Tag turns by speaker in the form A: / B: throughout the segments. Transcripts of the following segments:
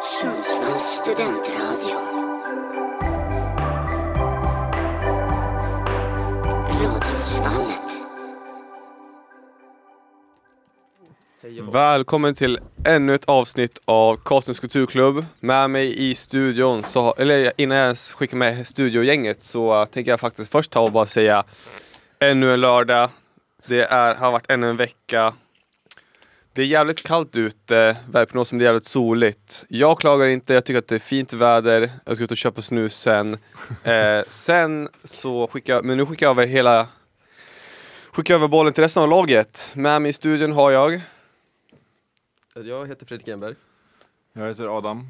A: Sundsvalls studentradio. Radiosvallet.
B: Välkommen till ännu ett avsnitt av Karlstens kulturklubb. Med mig i studion, så, eller innan jag ens skickar med studiogänget så eh, tänker jag faktiskt först ta och bara säga ännu en lördag. Det är, har varit ännu en vecka. Det är jävligt kallt ute, väderprognosen är jävligt soligt. Jag klagar inte, jag tycker att det är fint väder. Jag ska ut och köpa snus sen. Eh, sen så skickar jag, men nu skickar jag över hela Skicka över bollen till resten av laget. Med mig i studion har jag
C: Jag heter Fredrik Enberg.
D: Jag heter Adam.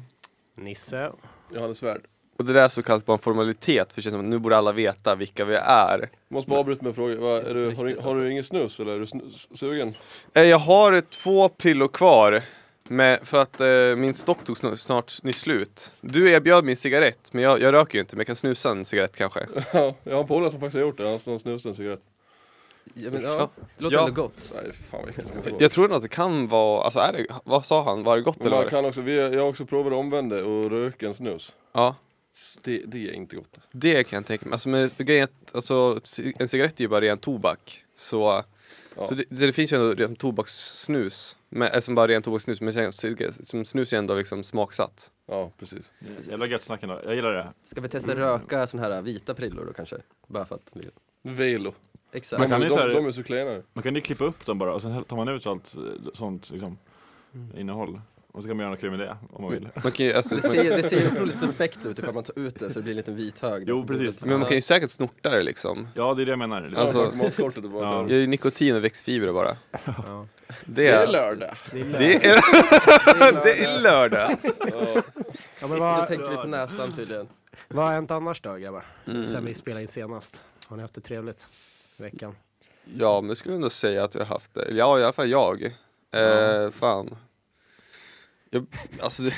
E: Nisse.
C: Johannes Svärd.
B: Och det där är så kallat bara en formalitet, för det känns som att nu borde alla veta vilka vi är.
C: Måste bara avbryta med en fråga. Vad, är du, har, du, har du ingen snus eller är du snus, sugen?
B: Eh, Jag har två pillor kvar, med, för att eh, min stock tog snu- snart nyss slut. Du erbjöd min cigarett, men jag, jag röker ju inte, men jag kan snusa en cigarett kanske.
C: Ja, jag har en polare som faktiskt har gjort det. Han han snusade en cigarett.
E: Ja, men,
B: Ja.
E: ja. Det låter
B: Ja.
E: ändå gott.
C: Nej, fan vilken skål.
B: Jag tror att det kan vara, alltså är det, vad sa han, var det gott
C: Men
B: eller?
C: man
B: var det?
C: kan också, vi, jag har också provat det omvända och röka en snus.
B: Ja,
C: Det, det är inte gott.
B: det kan jag tänka mig. Alltså, men grejen är att, alltså, ci- en cigarett är ju bara ren tobak. Så,
C: Ja.
B: så det, det finns ju ändå ren tobakssnus, men, eh, som bara ren tobakssnus, men sen- cig- som snus är ändå liksom smaksatt.
C: Ja, precis.
D: Jävla gött snack ändå. Jag gillar det.
E: Ska vi testa röka sån här vita prillor då kanske? Bara för att...
C: Velo.
E: Exakt.
C: De,
D: Man
C: de,
D: kan ju så här-
C: de, är så klena.
D: Man kan ju klippa upp dem bara och sen tar man ut allt eh, sånt liksom, innehåll. Och så kan man göra något kul med det om man vill.
B: Man kan ju, alltså,
E: Det
B: man-
E: ser, det ser ju otroligt suspekt ut ifall man tar ut det så det blir en liten vit hög.
D: Jo, precis.
B: Men man kan ju säkert snorta det liksom.
D: Ja, det är det jag menar. Lite
B: Alltså-
D: så.
C: Alltså, matkortet är bara
D: Ja.
B: Jag
C: där.
B: är ju nikotin och växtfibrer bara. Det
C: Det är
B: är,
C: lördag.
B: det är, det är lördag.
C: Ja.
F: Ja, men
E: Då
F: vad,
E: tänker vi på näsan tydligen. Mm.
F: vad har hänt annars då grabbar? Sen vi spelade in senast. Har ni haft det trevligt? i Veckan?
B: Ja, men jag skulle ändå säga att jag har haft det. Ja, i alla fall jag. Eh, fan. Jag, alltså, det,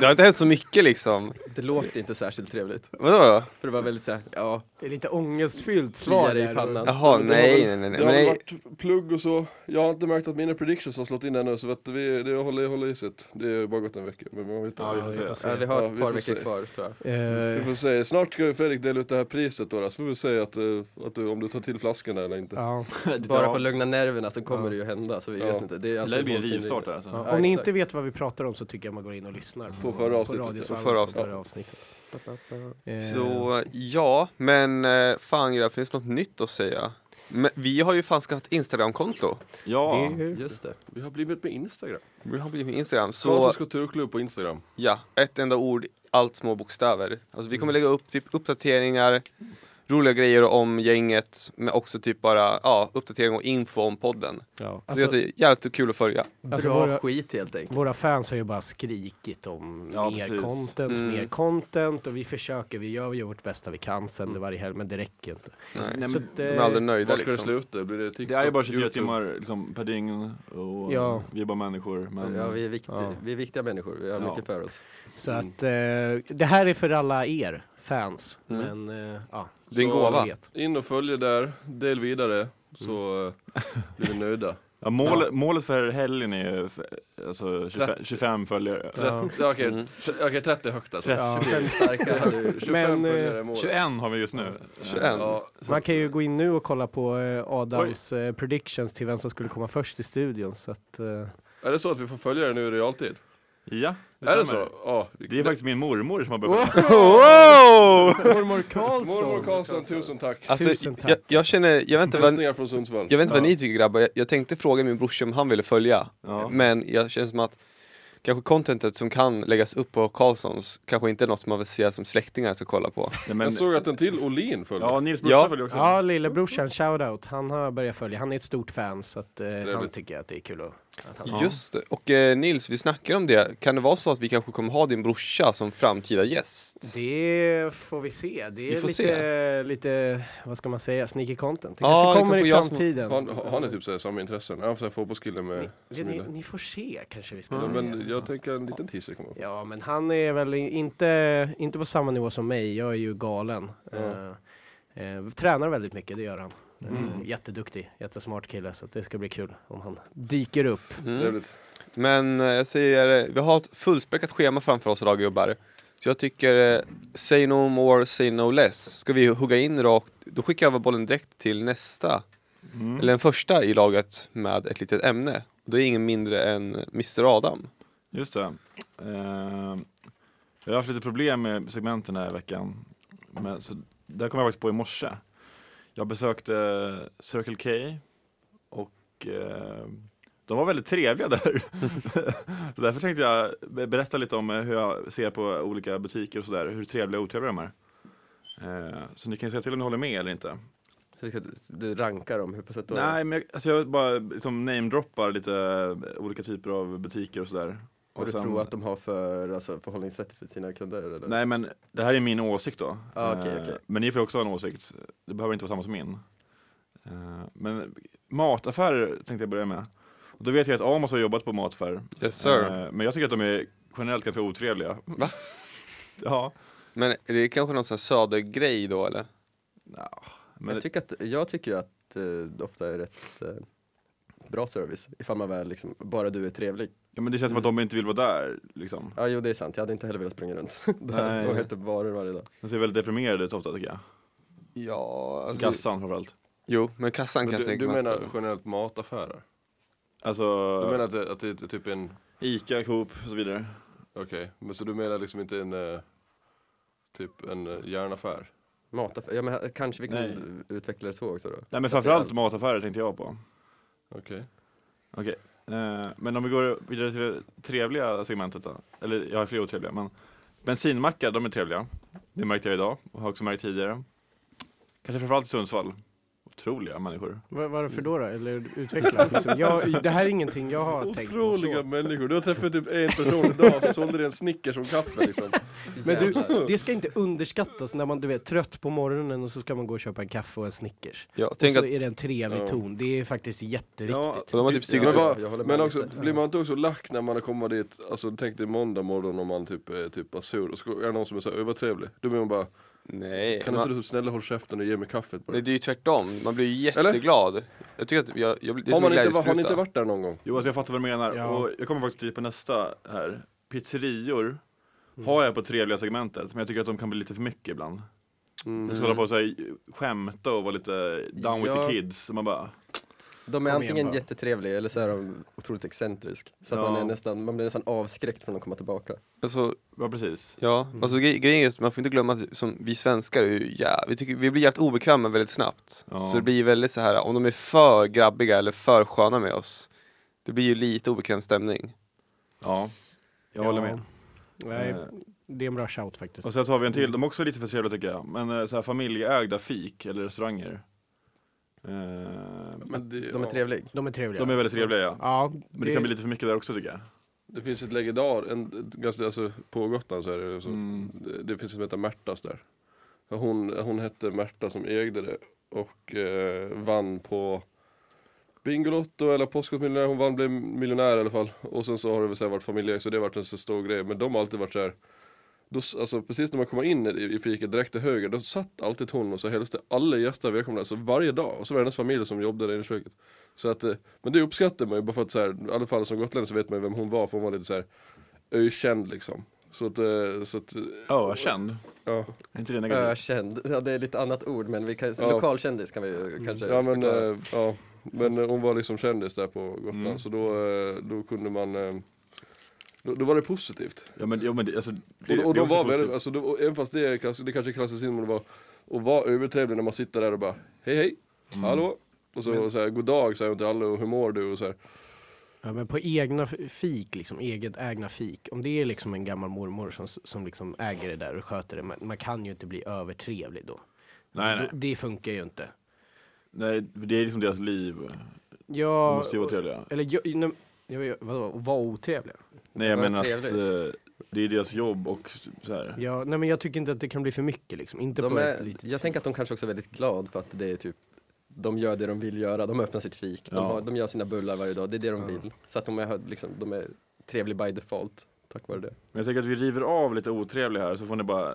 B: det har inte hänt så mycket liksom.
E: Det låter inte särskilt trevligt.
B: Vadå då?
E: För det var väldigt såhär, ja,
F: Det är lite ångestfyllt
E: kliar
F: svar
E: i pannan.
B: Jaha,
C: Men det har
B: nej,
C: väl-
B: nej, nej.
C: Det
B: Men
C: har väl
B: nej.
C: varit plugg och så. Jag har inte märkt att mina predictions har slått in ännu så vet vi, det håller, håller i sig. Det har bara gått en vecka. Men man vet
D: Ja, vi får se.
E: ja vi har
C: Ja,
E: ett
C: vi
E: par
C: får
E: veckor
C: se.
E: kvar tror jag.
C: Vi
F: Eh,
C: får se, snart ska ju Fredrik dela ut det här priset då, då. så får vi se att, eh, att du, om du tar till flaskan där eller inte.
F: ja.
E: Bara för att lugna nerverna så kommer det ju hända, så vi
C: Ja.
E: vet inte. Det är
D: Det
E: alltid
D: lär bli en
E: hårt i
D: rivstart där
E: livet.
D: alltså.
F: Ja,
E: Ja,
F: Om ni
E: exakt.
F: inte vet vad vi pratar om så tycker jag man går in och lyssnar på,
C: förra avsnittet.
F: radiosvallet,
B: På förra
F: på
B: avsnittet.
F: förra avsnittet. Eh,
B: Så, ja, men eh, fan grabbar, finns det något nytt att säga? Men, vi har ju fan skaffat Instagram-konto.
D: Ja,
F: det är-
E: Just det.
C: Vi har blivit med Instagram.
B: Vi har blivit Instagram. Så...
C: Karlstads kulturklubb på Instagram.
B: Ja, ett enda ord, allt små bokstäver. Alltså, vi kommer lägga upp typ uppdateringar, roliga grejer om gänget, men också typ bara ja, uppdatering och info om podden. Så
F: ja.
B: jag
F: alltså,
B: tycker det är jävligt kul att följa.
F: Alltså,
E: Bra
F: våra-
E: skit helt enkelt.
F: våra fans har ju bara skrikit om
D: Ja,
F: mer
D: precis.
F: content,
B: Mm.
F: mer content och vi försöker, vi gör ju vårt bästa vi kan
B: Mm.
F: sänder varje helg men det räcker ju inte.
C: Alltså,
B: Nej.
D: Nej,
F: Så
D: men,
F: att,
B: De
F: eh,
B: är aldrig nöjda
C: Vart ska det
B: liksom.
C: sluta? Blir det TikTok?
D: det är ju bara 24
C: YouTube?
D: timmar liksom, per dygn och eh,
F: Ja.
D: vi är bara människor. Men
E: Ja, vi, är viktiga,
F: Ja.
E: vi är viktiga människor, vi har
D: Ja.
E: mycket för oss.
F: Så att eh, det här är för alla er fans.
B: Mm.
F: Men eh, ja,
B: Det är en
F: så
B: gåva.
F: ni vet.
C: In och följ där, del vidare, så eh, blir vi nöjda.
D: ja, mål, målet för helgen är ju f- alltså, 25, 25 följare.
F: Ja.
C: Ja, Okej,
B: Mm.
C: t- okej, 30 högt alltså.
F: Ja.
C: 25 starka hade ju- 25
F: Men, eh,
C: följare i målet.
D: 21 har vi just nu.
B: 21.
C: Ja,
F: Man kan ju gå in nu och kolla på eh, Adams eh, predictions till vem som skulle komma först i studion. Så att, eh,
C: är det så att vi får följa det nu i realtid?
D: Ja,
C: är det så?
D: stämmer.
C: Ja.
D: Det är faktiskt min mormor som har börjat
B: Wow!
F: Mormor Karlsson!
C: Mormor Karlsson, tusen tack.
B: Alltså,
F: Tusen tack.
B: jag, jag känner, jag vet inte vad,
C: Hälsningar från Sundsvall.
B: jag vet inte vad ni tycker grabbar, jag, jag tänkte fråga min brorsa om han ville följa.
D: Ja.
B: Men jag känner som att kanske contentet som kan läggas upp på Karlssons kanske inte är något som man vill se som släktingar ska kolla på.
D: Nej, men,
C: Jag såg att en till Olin följde.
D: ja, Nils brorsa
B: Ja.
D: följer också.
F: Ja, lillebrorsan, shoutout. Han har börjat följa. Han är ett stort fan så att, eh, han
C: Trevligt.
F: tycker att det är kul att, att han
D: Ja.
B: Just det. Och eh, Nils, vi snackar om det. Kan det vara så att vi kanske kommer ha din brorsa som framtida gäst?
F: Det får vi se. Det
B: Vi
F: är
B: får
F: lite, lite, vad ska man säga, sneaky content. Det
B: Ja, det
F: kanske kommer
B: kanske
F: i
B: jag som-
F: framtiden.
C: Han, han är typ såhär samma intressen, han har såhär fotbollskille med
F: ni,
C: som
F: ni,
C: gillar-
F: ni får se kanske vi ska
C: Ja,
F: säga.
C: Men jag tänker en liten teaser kommer upp.
F: Ja, men han är väl i- inte, inte på samma nivå som mig. Jag är ju galen.
C: Ja.
F: Eh, eh, tränar väldigt mycket, det gör han. Mm. Jätteduktig, jättesmart kille så att det ska bli kul om han dyker upp.
B: Mm.
C: Trevligt.
B: Men eh, jag säger, eh, vi har ett fullspäckat schema framför oss idag gubbar. Så jag tycker, eh, say no more, say no less. Ska vi hugga in rakt, då skickar jag över bollen direkt till nästa,
D: Mm.
B: eller den första i laget med ett litet ämne. Det är ingen mindre än Mr Adam.
D: Just det. Eh, jag har haft lite problem med segmenten den här veckan. Men, så, det här kom jag faktiskt på i morse. Jag besökte Circle K och eh, de var väldigt trevliga där. så därför tänkte jag be- berätta lite om eh, hur jag ser på olika butiker och sådär, hur trevliga och otrevliga de är. Eh, så ni kan säga till om ni håller med eller inte.
E: Så vi ska, du rankar dem, hur på sätt och
D: Nej, men jag, alltså jag bara liksom namedroppar lite eh, olika typer av butiker och sådär.
E: Vad du
D: sen-
E: tror att de har för alltså, förhållningssätt för sina kunder? Eller?
D: Nej men det här är min åsikt då.
E: Ja, Typ. Ah, okej,
D: Eh,
E: okej.
D: Men ni får också ha en åsikt. Det behöver inte vara samma som min. Eh, Men mataffärer tänkte jag börja med. Och då vet jag att Amos har jobbat på mataffärer.
B: Yes sir.
D: Eh, Men jag tycker att de är generellt ganska otrevliga.
B: Va?
D: Ja.
B: Men är det kanske någon sån här södergrej då eller?
D: Nja, Men
E: Men jag tycker att, jag tycker ju att eh, det ofta är rätt eh, bra service, ifall man väl liksom, bara du är trevlig.
D: ja, men det känns som att de inte vill vara där liksom.
E: Ja, jo det är sant, jag hade inte heller velat springa runt där
D: Nej.
E: och hämta typ varor varje dag.
D: De ser väldigt deprimerade ut ofta tycker jag.
B: Ja, alltså,
D: Kassan framförallt.
B: Jo, men kassan kan
C: Men
B: jag
C: Du,
B: tänka
C: du
B: mig att-
C: menar generellt mataffärer?
D: Alltså
C: Du menar att det, att det är typ en,
D: Ica, Coop och så vidare.
C: okej, men så du menar liksom inte en, eh, typ en eh, järnaffär?
E: Mataffär, ja men här- kanske vi kan
D: Nej.
E: utveckla det så också då.
D: Nej men
E: Så att det-
D: framförallt mataffärer tänkte jag på.
C: Okej.
D: Okej, eh, men om vi går vidare till det trevliga segmentet då. Eller jag har fler otrevliga, men bensinmackar, de är trevliga. Det märkte jag idag och har också märkt tidigare. Kanske framförallt i Sundsvall. Otroliga människor.
F: Var, varför då då? Eller utveckla? Liksom. Jag, det här är ingenting jag har tänkt på.
C: Otroliga
F: så.
C: människor, du har träffat typ en person idag som sålde dig en Snickers som kaffe liksom.
F: Men du,
E: Jävlar.
F: det ska inte underskattas när man du vet, trött på morgonen och så ska man gå och köpa en kaffe och en Snickers.
B: Ja,
F: Och
B: tänk
F: så
B: att
F: är det en
C: Ja.
F: trevlig ton. Det är faktiskt jätteviktigt.
D: Ja,
B: de har typ
E: Ja,
B: stigit
C: Men
B: upp.
C: vad-
E: jag håller med
C: Men också,
E: Nisse.
C: blir man inte också lack när man kommer dit, alltså tänk dig måndag morgon om man typ är typ är sur och så är det någon som är så här övertrevlig. Då blir man bara,
B: Nej,
C: kan
B: man,
C: inte du snälla hålla käften och ge mig kaffet bara?
B: nej, det är ju tvärtom. Man blir ju
C: Eller?
B: jätteglad. Jag tycker att jag, jag blir, det är
C: Har,
B: som en
C: man inte, har ni
B: glädjespruta.
C: inte varit där någon gång?
D: Jo, alltså jag fattar vad du menar.
F: Ja.
D: Och jag kommer faktiskt till på nästa här. Pizzerior
E: Mm.
D: har jag på trevliga segmentet, men jag tycker att de kan bli lite för mycket ibland.
C: Mm.
D: De ska hålla på och så här, skämta och vara lite down with
E: Ja.
D: the kids. Och man bara,
E: De är
F: igen
E: antingen
F: bara.
E: jättetrevliga eller så är de otroligt excentrisk. Så att
D: Ja.
E: man, är nästan, man blir nästan avskräckt från att komma tillbaka.
B: Alltså,
D: ja precis.
B: ja.
C: Mm.
B: alltså gre- grejen är just, man får inte glömma att som, vi svenskar är ju, ja, vi, tycker, vi blir jävligt obekväma väldigt snabbt.
D: Ja.
B: Så det blir väldigt så här, om de är för grabbiga eller för sköna med oss, det blir ju lite obekväm stämning.
D: Ja, jag håller med.
F: Nej,
D: Eh,
F: det är en bra shout faktiskt.
D: Och sen så har vi en till, de är också lite för trevliga tycker jag. Men eh, så här familjeägda fik eller restauranger. Eh,
C: Men det,
E: De är
C: ja.
E: trevliga.
F: De är trevliga.
D: de är väldigt trevliga ja.
F: Ja,
D: Men det kan bli lite för mycket där också tycker jag.
C: Det finns ett legendar, en, ett ganska, alltså, på Gotland så är det så.
D: Mm.
C: Det, det finns ett som heter Märtas där. Hon, hon hette Märta som ägde det och eh, vann på Bingolotto eller Postkodmiljonär, hon vann, blev miljonär i alla fall. Och sen så har det väl så här varit familjeägt så det har varit en så stor grej. Men de har alltid varit så här, då, s- alltså precis när man kommer in i, i fiket direkt till höger, då satt alltid hon och så hälsade alla gäster välkomna. Så varje dag, och så var det hennes familj som jobbade där inne i köket. Så att, eh, men det uppskattar man ju bara för att så här, i alla fall som gotlänning så vet man ju vem hon var för hon var lite så här ökänd liksom. Så att, eh, så att eh,
D: Ökänd,
C: ja.
D: är inte det negativt?
E: Ökänd, ja det är lite annat ord men vi kan,
C: Ja. Mm.
E: lokalkändis kan vi ju kanske
C: Ja men,
E: förklara.
C: eh, ja. men eh, hon var liksom kändis där på Gotland
D: Mm.
C: så då, eh, då kunde man eh, då, då var det positivt.
D: Ja men, jo, men det, alltså, det,
C: och och de
D: det är också
C: var väldigt,
D: positivt.
C: alltså, då, och även fast det, är klass, det kanske klassas in men det var och var övertrevlig när man sitter där och bara hej hej,
D: Mm.
C: hallå och så, så här, god dag säger hon till alla och hur mår du och så här.
F: Ja, men på egna f- fik, liksom, eget ägna fik. Om det är liksom en gammal mormor som, som liksom äger det där och sköter det, man, man kan ju inte bli övertrevlig då.
D: Nej, nej.
F: Då- Det funkar ju inte.
D: nej, det är liksom deras liv. De
F: Ja,
D: måste ju vara
F: och-
D: trevliga.
F: eller jag, nej, jag, jag, vadå, vara otrevlig?
D: Nej jag
E: Vara
D: menar att
E: trevlig.
D: eh, det är deras jobb och så här.
F: Ja, nej, men jag tycker inte att det kan bli för mycket liksom. Inte
E: de
F: på ett
E: är,
F: litet
E: jag tänker att de kanske också är väldigt glada för att det är typ de gör det de vill göra, de öppnar sitt fik, de,
D: Ja.
E: har, de gör sina bullar varje dag, det är det de vill. Så att de är, liksom, de är trevliga by default, tack vare det.
D: Men jag tänker att vi river av lite otrevliga här så får ni
C: Mm.
D: bara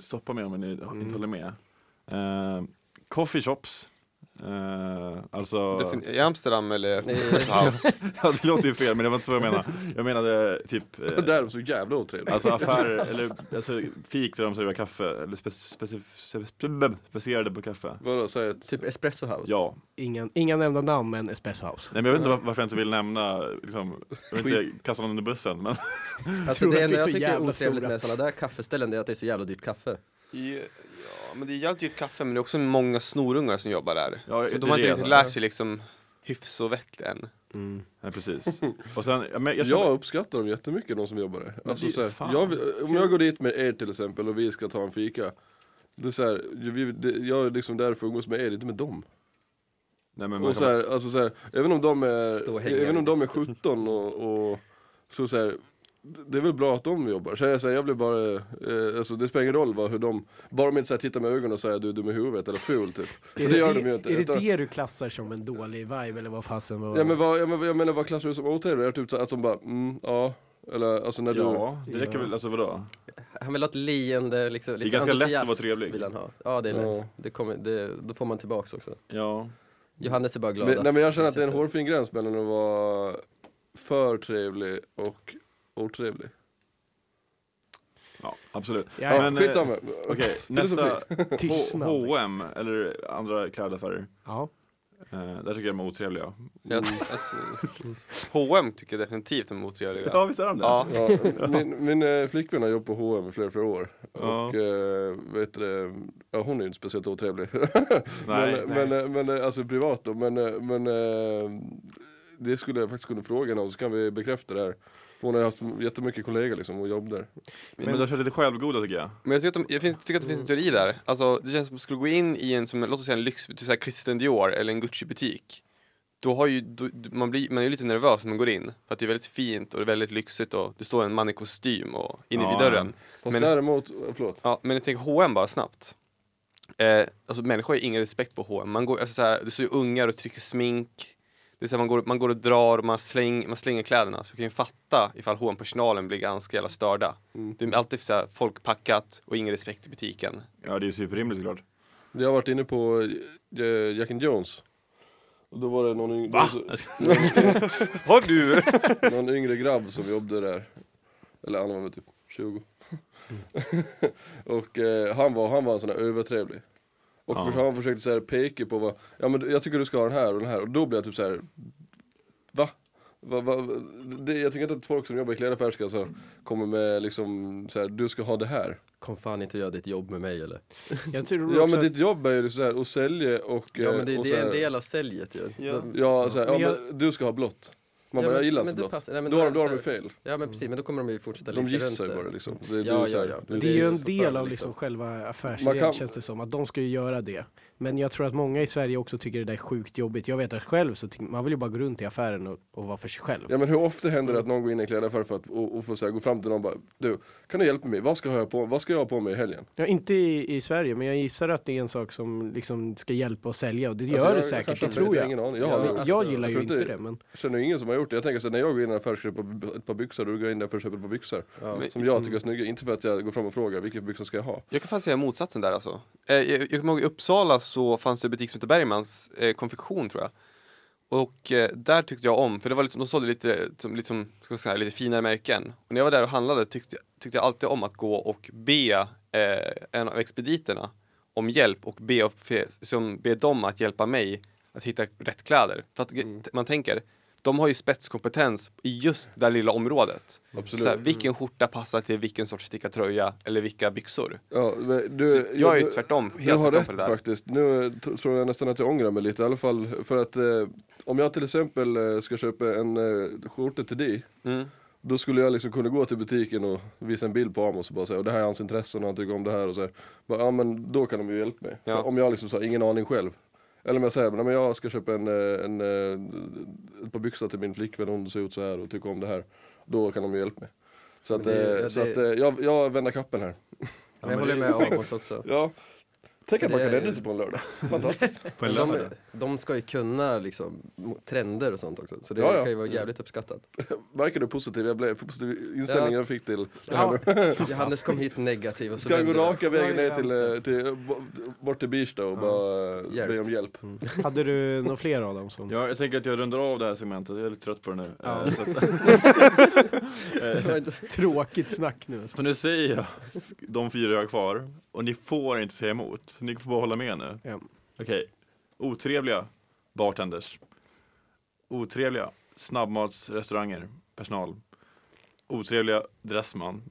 D: stoppa mig om ni inte håller med. Eh, coffee shops Eh, alltså,
B: Defin- I Amsterdam eller
E: Nej.
B: House?
D: alltså, det låter ju fel men det var inte så jag menade. Jag menade typ eh,
C: Där är de så jävla otrevliga.
D: Alltså affärer, eller alltså, fik där de serverar kaffe, eller spec- specif- specif- specialiserade på kaffe.
C: Vadå, säg ett...
E: Typ Espresso House.
D: Ja,
F: Inga, inga nämnda namn, men Espresso House.
D: nej men jag vet inte var- varför jag inte vill nämna, liksom, jag vill inte kasta någon under bussen men
E: Alltså
F: Tror att
E: det
F: vi
E: enda
F: är så
E: jag tycker är
F: jävla
E: otrevligt
F: stora.
E: med sådana där kaffeställen det är att det är så jävla dyrt kaffe.
B: Ja, men det är jävligt dyrt kaffe men det är också många snorungar som jobbar där.
D: Ja,
B: så
D: det
B: de har
D: är
B: inte
D: det,
C: alltså.
B: riktigt
D: va?
B: lärt sig liksom hyfs och vett än.
F: Mm.
D: Nej precis. Och sen, ja, men jag,
C: Jag uppskattar dem jättemycket, de som jobbar där.
D: Men
C: Alltså,
D: det-
C: så här,
D: fan.
C: jag, vill- om jag går dit med er till exempel och vi ska ta en fika. Det är så här, vi, det, jag är liksom där för att umgås med er, inte med dem.
D: nej, men man
C: Och så här, alltså så här, även om de
E: Stå och
C: är,
E: hänga
C: även om de är
E: lite.
C: 17 och, och så, så här, det är väl bra att de jobbar. Så jag, så här, jag blir bara, eh, alltså det spelar ingen roll vad, hur de, bara de inte så här, tittar med ögonen och säger du är dum i huvudet eller ful typ. För det gör de ju inte.
F: Är det
C: Utan-
F: det du klassar som en dålig vibe eller vad fasen var
C: Ja men vad, ja, men, vad- jag menar vad klassar du som otrevlig? Är det typ så här att de bara, mm, ja, eller alltså när
D: kan,
C: du
D: ja, det räcker väl, alltså vadå?
E: Han vill ha ett leende, liksom, lite
D: ganska lätt att
E: entusiasm
D: vara trevlig.
E: Vill han ha. Ja det är lätt.
C: Ja.
E: Det kommer, det, då får man tillbaks också.
D: Ja,
E: Johannes är bara glad
C: Men, nej men jag känner att det är en
E: han
C: hårfin gräns mellan att vara för trevlig och otrevlig.
D: ja absolut.
F: Ja,
C: Ja,
F: men,
D: eh,
C: skitsamma.
D: Okej, nästa,
C: Filosofi.
D: H-
F: Tystnad.
D: H&M eller andra klädaffärer,
F: Ja.
D: eh, där tycker jag de är otrevliga.
B: Jag,
D: Mm.
B: alltså, H&M tycker jag definitivt de är otrevliga.
D: Ja visst är de det?
B: Ja.
C: Ja, min min eh, flickvän har jobbat på H&M i flera, flera år.
D: Ja.
C: Och eh, vet du, det, ja, hon är ju inte speciellt otrevlig.
D: Nej,
C: men,
D: nej.
C: Men, eh, men eh, alltså privat då. Men, eh, men eh, det skulle jag faktiskt kunna fråga någon så kan vi bekräfta det här. För hon har ju haft jättemycket kollegor liksom och jobb där.
D: Men, men de kör lite självgoda tycker jag.
B: Men jag tycker, att de, jag finns, tycker att det finns en teori där. Alltså, det känns som att skulle gå in i en, som, låt oss säga en lyxbutik, så här Christian Dior eller en Gucci-butik. Då har ju, då, man, blir, man är ju lite nervös när man går in. För att det är väldigt fint och det är väldigt lyxigt och det står en man i kostym och inne
D: Ja.
B: vid dörren.
C: Fast
B: Men-
C: däremot, eh, förlåt.
B: Ja, men jag tänker H&M bara snabbt. Eh, alltså människor har ju ingen respekt för H&M. Man går, alltså, så här, det står ju ungar och trycker smink. Det är så här, man, går, man går och drar och man, släng, man slänger kläderna. Så jag kan ju fatta ifall hm personalen blir ganska jävla störda. Det är alltid så här, folk packat och ingen respekt i butiken.
D: Ja det är ju superrimligt såklart.
C: Jag har varit inne på eh, Jack and Jones. Och då var det någon yngre,
B: Har du?
C: någon yngre grabb som jobbade där. Eller han var väl typ 20. och eh, han, var, han var en sån där övertrevlig. Och
D: Ja.
C: för, han försökte så här peka på vad, ja men jag tycker du ska ha den här och den här. Och då blev jag typ så här. va? Va, va, det, jag tycker inte att folk som jobbar i klädaffär ska så här, kommer med liksom så här, du ska ha det här.
E: Kom fan inte och gör ditt jobb med mig eller?
F: Jag tror
C: Ja
F: också
C: men
F: att-
C: ditt jobb är ju liksom så här att sälja och...
E: Ja
C: eh,
E: men det,
C: och
E: det
C: så
E: är en
C: här-
E: del av säljet ju.
B: Ja.
C: Ja, så här, ja
F: Men jag-
C: men du ska ha blått. Man
E: Ja,
C: bara,
E: men-
C: jag gillar
E: men
C: inte
E: det
C: blått.
E: passar- nej, men
C: då
E: det
C: har de
E: är
C: då har
E: så
C: de
E: här-
C: fel.
E: Ja men precis, men då kommer de ju fortsätta
C: De
E: lirka
C: gissar ju
E: runt
C: bara liksom. Det, det
E: Ja,
C: är så här-
E: ja, ja.
C: det är
F: Det är ju en
C: förfärligt,
F: del av
C: liksom.
F: liksom själva
C: Man
F: affärsidén
C: kan-
F: känns det som, att de ska ju göra det. Men jag tror att många i Sverige också tycker det där är sjukt jobbigt. Jag vet att själv så tycker man vill ju bara gå runt i affären och, och vara för sig själv.
C: Ja men hur ofta händer det att någon går in i en klädaffär för att, och, och får så här, gå fram till någon och bara Du, kan du hjälpa mig? Vad ska jag ha på, vad ska jag ha på mig i helgen?
F: Ja, inte i, i Sverige, men jag gissar att det är en sak som liksom ska hjälpa och sälja och det
C: Alltså,
F: gör det
C: jag-
F: säkert,
C: kanske
F: det
C: har fel, jag
F: tror
C: har
F: jag.
C: ingen aning. Jag
F: Jag,
C: har-
F: jag,
E: alltså,
F: gillar
C: jag
F: ju
C: tror
F: inte
C: inte-
F: det, men
C: Jag känner ju ingen som har gjort det. Jag tänker så här, när jag går in i en affär och köper ett par byxor, då går jag in där för att köpa ett par byxor.
B: Men-
C: Som jag tycker är snygga, inte för att jag går fram och frågar vilka byxor ska jag ha?
B: Jag kan fan säga motsatsen där alltså. Eh, jag, jag kommer ihåg i Uppsala så fanns det en butik som hette Bergmans eh, konfektion tror jag. Och eh, där tyckte jag om, för det var liksom, de sålde lite, som, liksom, ska jag säga, lite finare märken. Och när jag var där och handlade tyckte, tyckte jag alltid om att gå och be eh, en av expediterna om hjälp och be, och fe- som, be dem att hjälpa mig att hitta rätt kläder. För att t- man tänker, de har ju spetskompetens i just det där lilla området.
C: Absolut.
B: Så här, vilken skjorta passar till vilken sorts stickad tröja eller vilka byxor?
C: Ja, men
B: Så
C: du,
B: jag är ju
C: du-
B: tvärtom,
C: Du
B: helt
C: har
B: tvärtom på
C: rätt
B: det där.
C: faktiskt. Nu t- tror jag nästan att jag ångrar mig lite i alla fall. För att eh, om jag till exempel eh, ska köpa en eh, skjorta till dig.
B: Mm.
C: Då skulle jag liksom kunna gå till butiken och visa en bild på Amos och bara säga "Och det här är hans intressen och han tycker om det här och så här. Bara, ja men då kan de ju hjälpa mig.
B: Ja.
C: För om jag liksom så har ingen aning själv. Eller om jag säger, "Nej, men jag ska köpa en, eh, en, eh, ett par byxor till min flickvän, hon ser ut så här och tycker om det här. Då kan de ju hjälpa mig. Så att,
E: Men det-
C: eh,
E: ja,
C: så
E: det-
C: att eh, jag, jag vänder kappen här.
E: Men jag håller med Amos också.
C: Ja, Tänk att man kan
E: Det är-
C: ändra sig på en lördag. Fantastiskt.
D: På en
E: de,
D: lördag.
E: de ska ju kunna liksom, mo- trender och sånt också, så det
C: Ja, ja.
E: kan ju vara jävligt uppskattat.
C: Märker du hur positiv jag blev? För positiv inställning
E: Ja.
C: jag fick till det här
E: Ja,
C: nu.
E: Johannes kom hit negativ och så
C: Ska jag gå
E: vände det.
C: raka vägen
D: Ja,
C: ner
D: jag
C: till, eh, till, b- bort till Birsta och bara eh,
E: Hjälp. Mm.
C: be om hjälp?
F: Hade du några fler av dem? Som...
D: Ja, jag tänker att jag rundar av det här segmentet, jag är lite trött på det nu.
F: Ja.
D: Eh, Så, att,
F: Tråkigt snack nu.
D: så nu säger jag de fyra jag har kvar, och ni får inte säga emot. Ni får bara hålla med nu.
F: Ja.
D: Okej, otrevliga bartenders. Otrevliga snabbmatsrestauranger, personal. Otrevliga dressman.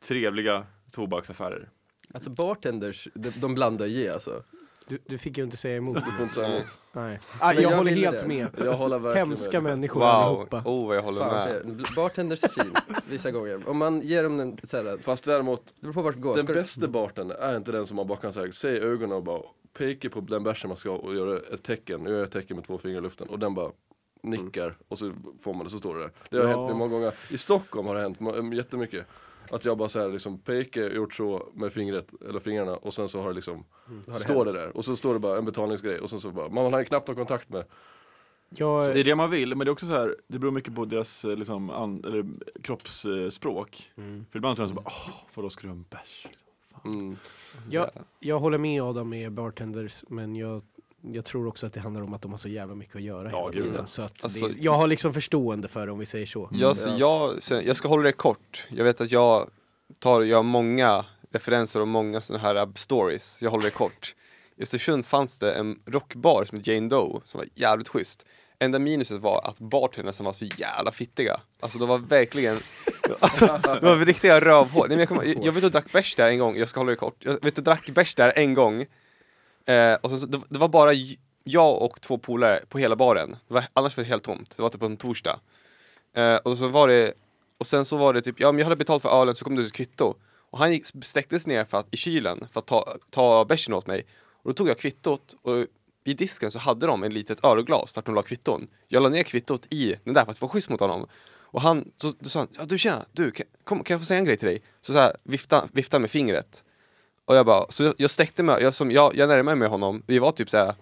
D: Trevliga tobaksaffärer.
E: Alltså bartenders, de, de blandar ju i alltså.
F: Du, du fick ju inte säga emot.
C: Du får inte säga emot.
F: Nej. Ah,
E: Men
F: jag,
E: jag
F: håller
E: ville
F: helt
E: det.
F: med.
C: Jag håller verkligen
F: Hemska
C: med.
F: människor
B: Wow,
F: allihopa.
B: oh vad jag håller
E: Fan,
B: med.
E: för- bartenders är fin, vissa gånger. Om man ger dem en så här, det
C: Fast däremot,
E: beror på vart det går.
C: den
E: Ska-
C: bästa barten är inte den som man bara kan säga, se i ögonen och bara peka på den bärsen man ska ha och göra ett tecken, jag gör ett tecken med två fingrar i luften och den bara nickar
E: Mm.
C: och så får man det, så står det där. Det har
D: Ja.
C: hänt mig många gånger, i Stockholm har det hänt ma- äm, jättemycket. Att jag bara såhär liksom pekar, gjort så med fingret, eller fingrarna och sen så har det liksom,
E: Mm. har det
C: står
E: hänt?
C: det där. Och så står det bara en betalningsgrej och sen så bara, man har ju knappt någon kontakt med.
D: Det är
F: Jag,
D: det man vill, men det är också så här, det beror mycket på deras eh, liksom, an, eller, kroppsspråk. För ibland så är de så bara, åh, vadå ska du ha en bärs?
C: Mm.
F: jag, jag håller med Adam med bartenders, men jag, jag tror också att det handlar om att de har så jävla mycket att göra
D: Ja,
F: hela
D: gud,
F: tiden.
D: ja.
F: Så att
B: Alltså-
F: det, jag har liksom förstående för det om vi säger så.
B: Jag, så jag, sen- jag ska hålla det kort. Jag vet att jag tar, jag har många referenser och många sådana här ab- stories. Jag håller det kort. I Östersund fanns det en rockbar som hette Jane Doe som var jävligt schysst. Enda minuset var att bartendrarna var så jävla fittiga. Alltså de var verkligen, alltså, de var riktiga rövhål. Nej, men jag, kommer- jag, jag vet att jag drack bärs där en gång, jag ska hålla det kort. Jag vet att jag drack bärs där en gång. Eh, och sen, så, det, det var bara j- jag och två polare på hela baren. Det var, annars var det helt tomt. Det var typ på en torsdag. Eh, och så var det, och sen så var det typ, ja men jag hade betalt för ölen så kom det ett kvitto. Och han gick, sträcktes ner för att, i kylen för att ta, ta bärsen åt mig. Och då tog jag kvittot och i disken så hade de en litet ölglas där de la kvitton. Jag la ner kvittot i den där för att vara schysst mot honom. Och han, så, så sa han, ja du tjena, du kan, kom, kan jag få säga en grej till dig? Så, så här, vifta, vifta med fingret. Och jag bara, så jag, jag sträckte mig, jag, som, jag, jag närmade mig honom, vi var typ så här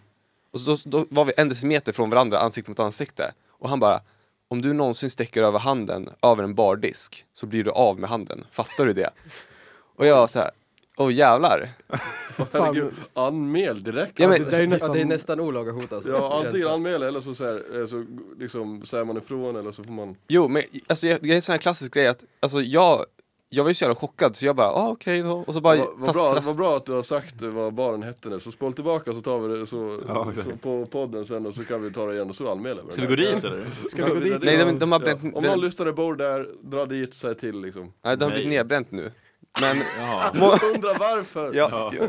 B: och så, då, då var vi en decimeter från varandra, ansikte mot ansikte. Och han bara, om du någonsin sträcker över handen över en bardisk så blir du av med handen. Fattar du det? Och jag var så här, åh jävlar.
C: Herregud, anmäl direkt!
B: Ja,
E: Det,
B: men,
E: där är nästan... ja, det är nästan olaga hot alltså.
C: Ja, antingen anmäla eller så, så, här, eh, så liksom, säger man ifrån eller så får man
B: jo, men alltså, jag- det är en sån här klassisk grej att, alltså jag, jag var ju så jävla chockad så jag bara, ah, okej då. Och så bara,
C: Vad vad
B: tas-
C: bra,
B: tras-
C: vad bra att du har sagt vad baren hette nu, så spola tillbaka så tar vi det så,
D: Ja,
C: så
D: exakt.
C: på podden sen och så kan vi ta det igen och så anmäla vi
D: Ska vi gå dit eller?
C: Ska vi gå dit?
B: Nej, de- de har bränt-
C: Om
B: det-
C: någon lyssnare bor där, dra dit, säg till liksom.
B: Nej, det har blivit
D: Nej.
B: nedbränt nu. Men,
D: Ja.
C: Undra varför!
B: ja, ja.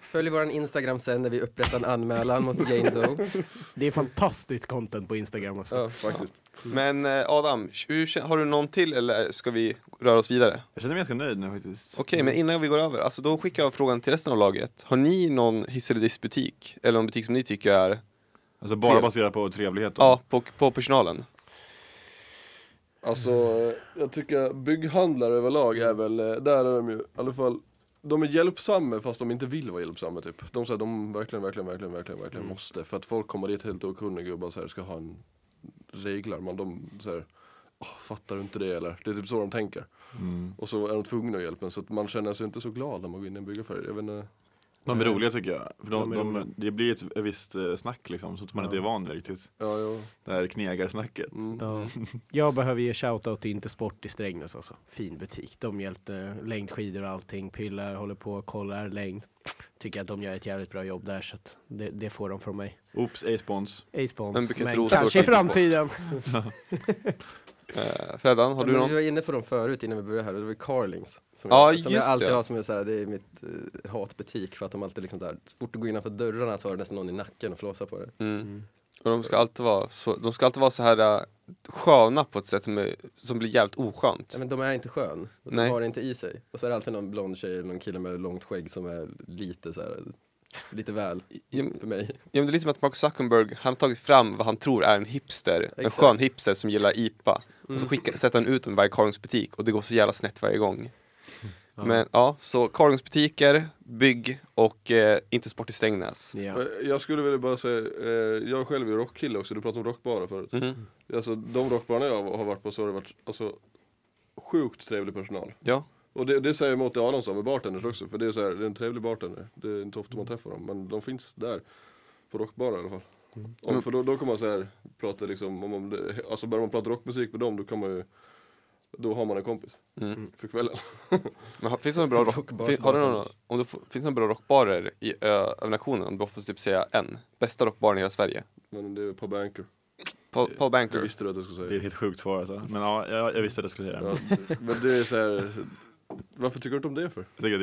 E: Följ våran Instagram sen när vi upprättar en anmälan mot Jane Doe.
F: Det är fantastiskt content på Instagram. Alltså.
E: Ja.
C: Faktiskt.
B: men eh, Adam, hur kän- har du någon till eller ska vi röra oss vidare?
D: Jag känner mig ganska nöjd nu faktiskt.
B: Okej,
E: Mm.
B: men innan vi går över, alltså då skickar jag frågan till resten av laget. Har ni någon hiss eller dissbutik? Eller någon butik som ni tycker är,
D: Alltså bara
B: Trev-
D: baserat på trevlighet då.
B: ja, på, på personalen?
C: Alltså, eh, jag tycker bygghandlare överlag är väl, eh, där är de ju i alla fall de är hjälpsamma fast de inte vill vara hjälpsamma typ. De säger de verkligen, verkligen, verkligen, verkligen, verkligen måste. För att folk kommer dit helt okunniga och bara så här, ska ha en reglar. Man, de så här, "Åh, fattar du inte det eller? Det är typ så de tänker.
D: Mm.
C: Och så är de tvungna att hjälpa en så att man känner sig inte så glad när man går in i en byggaffär. Jag vet inte.
D: De är roliga tycker jag. För de,
F: De är
D: de,
F: roliga.
D: det blir ett, ett visst eh, snack liksom, så att man inte är van vid riktigt.
C: Ja, ja.
D: Det här knegarsnacket.
C: Mm.
F: Ja. Jag behöver ge shoutout till Intersport i Strängnäs alltså. Fin butik. De hjälpte längdskidor och allting. Pillar, håller på, kollar längd. Tycker att de gör ett jävligt bra jobb där så att det, det får de från mig.
D: Oops, ej spons.
B: Men
F: A-spons.
B: brukar inte
F: Men
B: Rosor
F: kanske i
B: till
F: framtiden.
B: Eh, Fredan, har du
E: Men
B: någon?
E: Vi var inne på dem förut innan vi började här, och det var Carlings. Som,
B: Ja,
E: jag, som
B: just
E: jag alltid
B: det.
E: har som är såhär, det är mitt eh, hatbutik för att de alltid liksom där, så fort du går innanför dörrarna så har det nästan någon i nacken och flåsar på det.
B: Mm. Och de ska alltid vara så, de ska alltid vara så här eh, sköna på ett sätt som, är, som blir jävligt oskönt.
E: Ja, men de är inte skön, de
B: Nej.
E: har det inte i sig. Och så är det alltid någon blond tjej eller någon kille med långt skägg som är lite såhär, lite väl
B: Ja, men-
E: för mig.
B: ja, men det är lite som att Mark Zuckerberg, han har tagit fram vad han tror är en hipster, en
E: Exakt. Mm.
B: skön hipster som gillar IPA. Och så skickar, sätter han ut dem i varje Karlings butik och det går så jävla snett varje gång.
F: Ja.
B: Men ja, så Karlgrens butiker, bygg och eh, inte sport i Strängnäs.
F: Ja.
C: Eh, Jag skulle vilja bara säga, eh, jag själv är rockkille också, du pratade om rockbarer förut.
B: Mhm.
C: Alltså de rockbarerna jag har varit på så har det varit alltså, sjukt trevlig personal.
B: Ja.
C: Och det, det säger jag emot det Aron sa med bartenders också, för det är så här, det är en trevlig bartender. Det är inte ofta man träffar dem, men de finns där. På rockbarer i alla fall. Om, för då, då kan man så här, prata liksom, om, om det, alltså börjar man prata rockmusik med dem då kan man ju, då har man en kompis.
B: Mm.
C: För kvällen.
B: Men har- finns det några bra, rock,
E: Rockbars-
B: fin, har du någon, om du, får- finns det några bra rockbarer i, ö, över nationen? Om du får typ säga en. Bästa rockbaren i hela Sverige?
C: Men det är på banker.
B: Paul, Paul
C: Jag
B: Banker.
C: visste du att jag skulle säga.
D: Det är ett helt sjukt svar alltså. Men ja, jag, jag visste att jag skulle säga det.
C: Ja, men det är så här, varför tycker du inte om det för?
D: Jag tycker att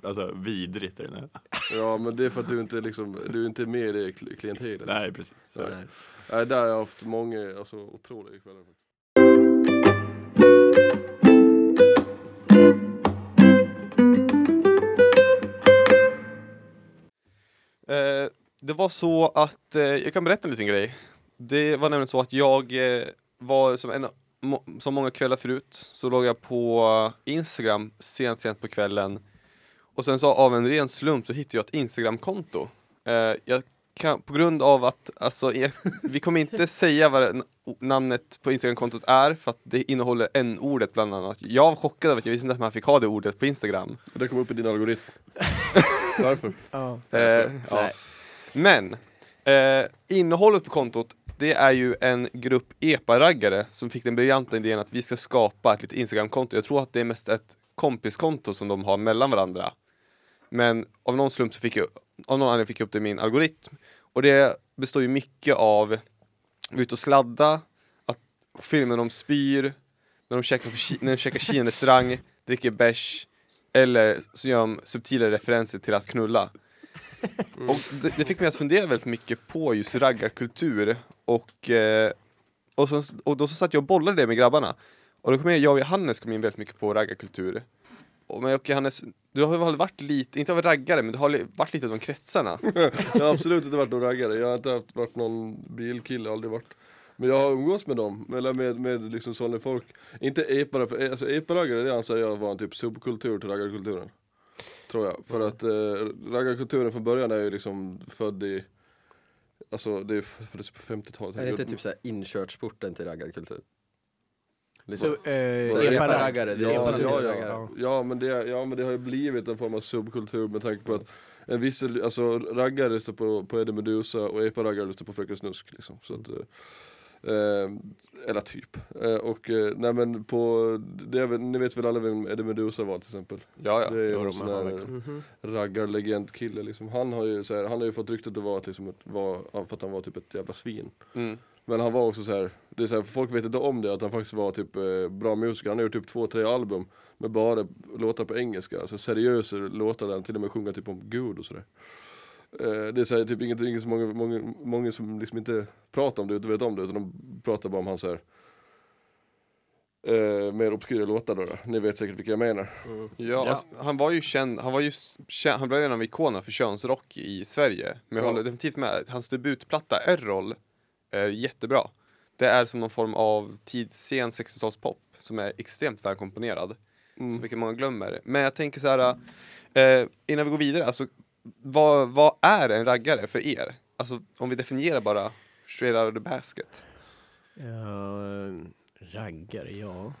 D: det är alltså, vidrigt. Är det nu.
C: Ja men det är för att du inte liksom, du är inte med i det kl- klientelet.
D: Nej, precis.
C: Så, nej. Nej, där har jag haft många, alltså otroliga kvällar faktiskt.
B: Eh, det var så att, eh, jag kan berätta en liten grej. Det var nämligen så att jag eh, var, som, en, må, som många kvällar förut, så låg jag på Instagram sent, sent på kvällen. Och sen så av en ren slump så hittade jag ett Instagram-konto. Eh, jag kan, på grund av att, alltså, jag, vi kommer inte säga vad det, n- namnet på Instagram-kontot är, för att det innehåller en ordet bland annat. Jag var chockad över att jag visste inte att man fick ha det ordet på Instagram.
C: Och det kom upp i din algoritm. Varför?
B: Eh, ja. Men eh, innehållet på kontot det är ju en grupp epa-raggare som fick den briljanta idén att vi ska skapa ett litet Instagram-konto. Jag tror att det är mest ett kompiskonto som de har mellan varandra. Men av någon slump så fick jag, av någon anledning fick jag upp det i min algoritm. Och det består ju mycket av ut och sladda, att filmer de spyr, när de käkar, på Ki- när de käkar Kina-restaurang, dricker bärs, eller så gör de subtila referenser till att knulla. Och det, det fick mig att fundera väldigt mycket på just raggarkultur och, eh, och, så, och då så satt jag och bollade det med grabbarna och då kom jag, jag och Johannes kom in väldigt mycket på raggarkultur och, men och Johannes, du har väl varit lite, inte av raggare men du har li- varit lite av de kretsarna
C: Jag har absolut inte varit någon raggare, jag har inte haft, varit någon bilkille, aldrig varit. Men jag har umgås med dem, eller med, med liksom sådana folk. Inte epa, för alltså epa-raggare det anser jag var en typ subkultur till raggarkulturen. Tror jag, för att eh, raggarkulturen från början är ju liksom född i, alltså det är f- föddes på 50-talet.
E: Är det inte typ såhär inkörsporten till raggarkultur? Liksom,
F: Så, eh,
E: så
F: epa-
E: epa-raggare, det är
C: Ja,
E: epa-
C: ja, ja.
E: raggare.
C: ja, men det, ja men det har ju blivit en form av subkultur med tanke på att en viss, alltså raggare lyssnar på, på Eddie Meduza och epa-raggare lyssnar på Fröken Snusk liksom. Så att, eh, eh, eller typ. Eh, och eh, nej men på, det är, väl- ni vet väl alla vem Eddie Meduza var till exempel?
B: Ja, ja.
C: det är ju
D: jo,
C: en
D: de
C: sån
D: har Mhm.
C: där raggarlegendkille liksom. Han har ju så här, han har ju fått ryktet att vara att liksom, ett, var, för att han var typ ett jävla svin.
B: Mm.
C: Men han var också så här, det är så här, folk vet inte om det att han faktiskt var typ eh, bra musiker. Han har gjort typ två, tre album med bara låtar på engelska. Alltså seriösa låtar där han till och med sjunger typ om Gud och sådär. Eh, det är så här, typ inget, inget som många, många, många som liksom inte pratar om det utan vet om det utan de pratar bara om hans så här Eh, mer obskyra låtar då, då. Ni vet säkert vilka jag menar.
B: Ja, Alltså, han var ju känd, han var ju s- känd, han blev en av ikonerna för könsrock i Sverige. Men jag
C: Ja.
B: håller definitivt med, hans debutplatta Errol är jättebra. Det är som någon form av tidsen 60-talspop som är extremt välkomponerad. Så vilket många glömmer. Men jag tänker så här, eh, innan vi går vidare, alltså vad, vad är en raggare för er? Alltså om vi definierar bara straight out of the basket.
F: Ja, raggare, ja.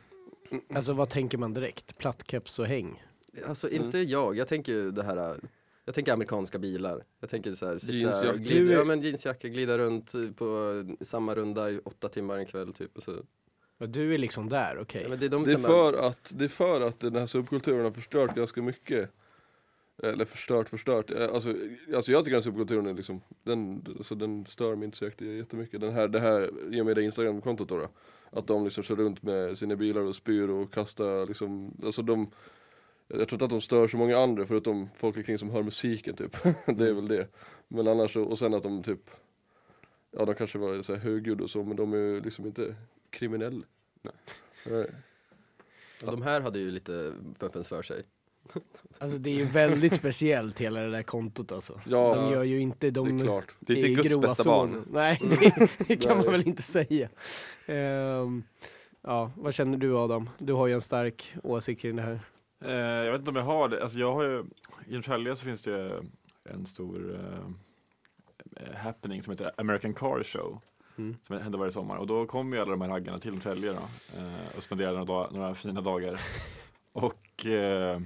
F: Alltså vad tänker man direkt? Plattkeps och häng?
E: Alltså
B: Mm.
E: inte jag, jag tänker ju det här äh, jag tänker amerikanska bilar. Jag tänker så här, sitta
C: Jeansjacka.
E: och glida, ja, men jeansjacka, glida runt eh, på eh, samma runda i åtta timmar en kväll typ. Och så.
F: Ja, du är liksom där, okej.
E: Ja, men det är de
C: Det är,
E: som är-
C: för att, det är för att den här subkulturen har förstört ganska mycket. Eller förstört, förstört. Eh, Alltså, alltså jag tycker den här subkulturen är liksom, den, alltså den stör mig inte så jätte- jättemycket. Den här, det här, i och med det instagramkontot då, då. Att de liksom kör runt med sina bilar och spyr och kastar liksom, alltså de jag tror inte att de stör så många andra förutom folk omkring som hör musiken typ. det är väl det. Men annars så, och sen att de typ, ja de kanske var så här högljudda och så men de är ju liksom inte kriminella. Nej.
E: Och de här hade ju lite fuffens för sig.
F: Alltså det är ju väldigt speciellt hela det där kontot alltså.
C: Ja,
F: de gör ju inte,
C: det
F: de
C: är klart.
B: Det är
F: i
B: inte Guds
F: grova
B: bästa
F: zonen.
B: barn.
F: Nej, det, det kan man
C: Mm. Nej.
F: väl inte säga. Ehm, ja, vad känner du Adam? Du har ju en stark åsikt kring det här.
D: Eh, jag vet inte om jag har det. Alltså jag har ju, I Norrtälje så finns det ju en stor eh, happening som heter American Car Show.
F: Mm.
D: Som händer varje sommar. Och då kommer ju alla de här raggarna till Norrtälje då. Eh, och spenderar några, dag- några fina dagar. och eh,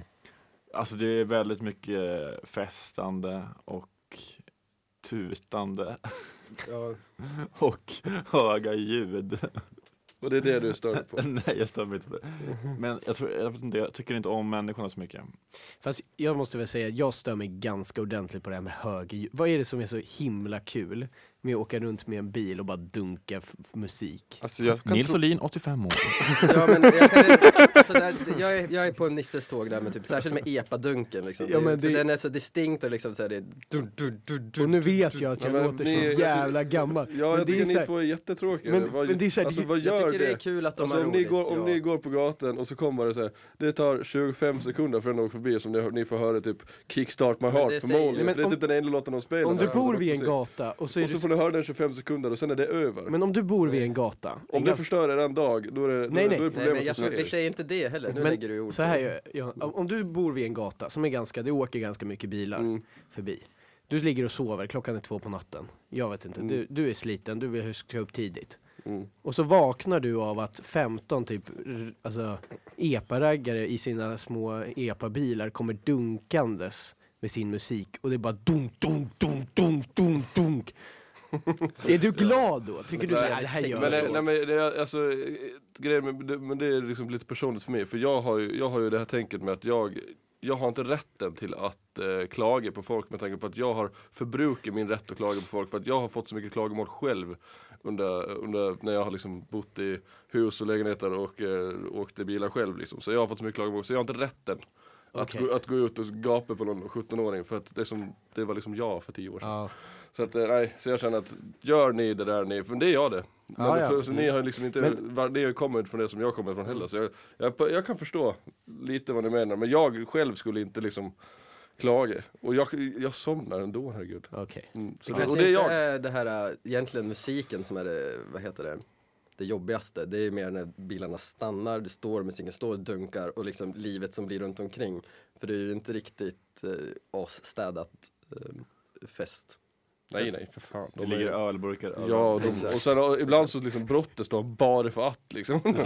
D: alltså det är väldigt mycket festande och tutande
E: Ja,
D: och höga ljud.
C: Och det är det du stör dig på?
D: Nej, jag stör mig inte på det. Men jag, tror, jag, vet inte, jag tycker inte om människorna så mycket.
F: Fast jag måste väl säga, jag stör mig ganska ordentligt på det här med höger. Vad är det som är så himla kul med att åka runt med en bil och bara dunka f- f- musik?
B: Alltså jag kan tro...
D: Olin, 85 år.
E: ja men jag, kan, alltså, där, jag, är, jag är på Nisses tåg där med typ, särskilt med epadunken liksom.
F: Ja, men
E: För
F: det-
E: Den är så distinkt och liksom så här, det är du, du, du, du.
F: Och nu vet jag att jag
C: Ja, men
F: låter
C: ni-
F: så jävla gammal.
C: Ja, jag
F: men det
C: tycker
F: är så
C: ni
F: här,
C: två är jättetråkiga.
F: Men-
C: Vad-
F: men det är så här,
C: alltså
F: det-
C: vad
E: Jag
C: gör
E: tycker det.
C: det?
E: är kul att de
C: Alltså,
E: har
C: om,
E: roligt.
C: ni går, om
E: ja.
C: ni går på gatan och så kommer det så här, det tar 25 sekunder för någon att gå förbi som ni, ni får höra typ Kickstart My
E: Men det
C: Heart på
E: säger-
C: Mole.
E: Nej,
F: men
C: Det är
F: om-
C: typ den enda låten de spelar.
F: om du
C: där.
F: bor vid en gata och så är
C: Och så får
F: det...
C: ni höra den 25 sekunder och sen är det över.
F: Men om du bor vid en gata. en
C: om det
F: ganska-
C: förstör er en dag, då är, det, då
F: Nej,
C: är-
F: nej.
C: Då är
E: Nej,
C: problemet
E: men jag,
C: hos
E: tror- vi
C: er.
E: säger inte det heller, nu
F: Men
E: lägger du i ord.
F: Så här, gör jag, om om du bor vid en gata som är ganska, det åker ganska mycket bilar
C: Mm.
F: förbi. Du ligger och sover, klockan är två på natten. Jag vet inte,
C: Mm.
F: du, du är sliten, du vill huska upp tidigt.
C: Mm.
F: Och så vaknar du av att 15 typ, r- alltså, epa-raggare i sina små epa-bilar kommer dunkandes med sin musik och det är bara dunk, dunk, dunk, dunk, dunk, dunk. är du glad då? Tycker du såhär, det här gör
C: Men,
F: jag
C: det, nej,
F: inte.
C: men det, är- alltså, eh, grejen med, det, men det är liksom lite personligt för mig, för jag har ju, jag har ju det här tänket med att jag, jag har inte rätten till att eh, klaga på folk med tanke på att jag har förbrukat min rätt att klaga på folk för att jag har fått så mycket klagomål själv under, under när jag har liksom bott i hus och lägenheter och eh, åkte bilar själv liksom. Så jag har fått så mycket klagomål, så jag har inte rätten att,
F: Okej.
C: gå, att gå ut och gapa på någon 17-åring för att det, är som, det var liksom jag för 10 år sedan.
F: Ja.
C: Så att, eh, nej, så jag känner att gör ni det där ni, för det är jag det. Men
F: Ja, ja.
C: Så, så ni har ju liksom inte, var, ni har ju kommit från det som jag kommer från heller. Så jag, jag, jag kan förstå lite vad ni menar, men jag själv skulle inte liksom klaga. Och jag, jag somnar ändå, herregud.
F: Okej.
C: Mm, så
E: Det
C: det,
E: kanske
C: och det är
E: inte
C: jag.
E: är det här, äh, egentligen musiken som är det, vad heter det, det jobbigaste. Det är mer när bilarna stannar, det står, musiken står och dunkar och liksom livet som blir runt omkring. För det är ju inte riktigt eh, asstädat eh, fest.
C: Nej, nej, för fan.
D: Det
C: De
D: ligger
C: är,
D: ölburkar
C: ja,
D: överallt.
C: de,
E: Exakt.
C: och sen och ibland så liksom brottas de bara för att liksom.
D: Ja.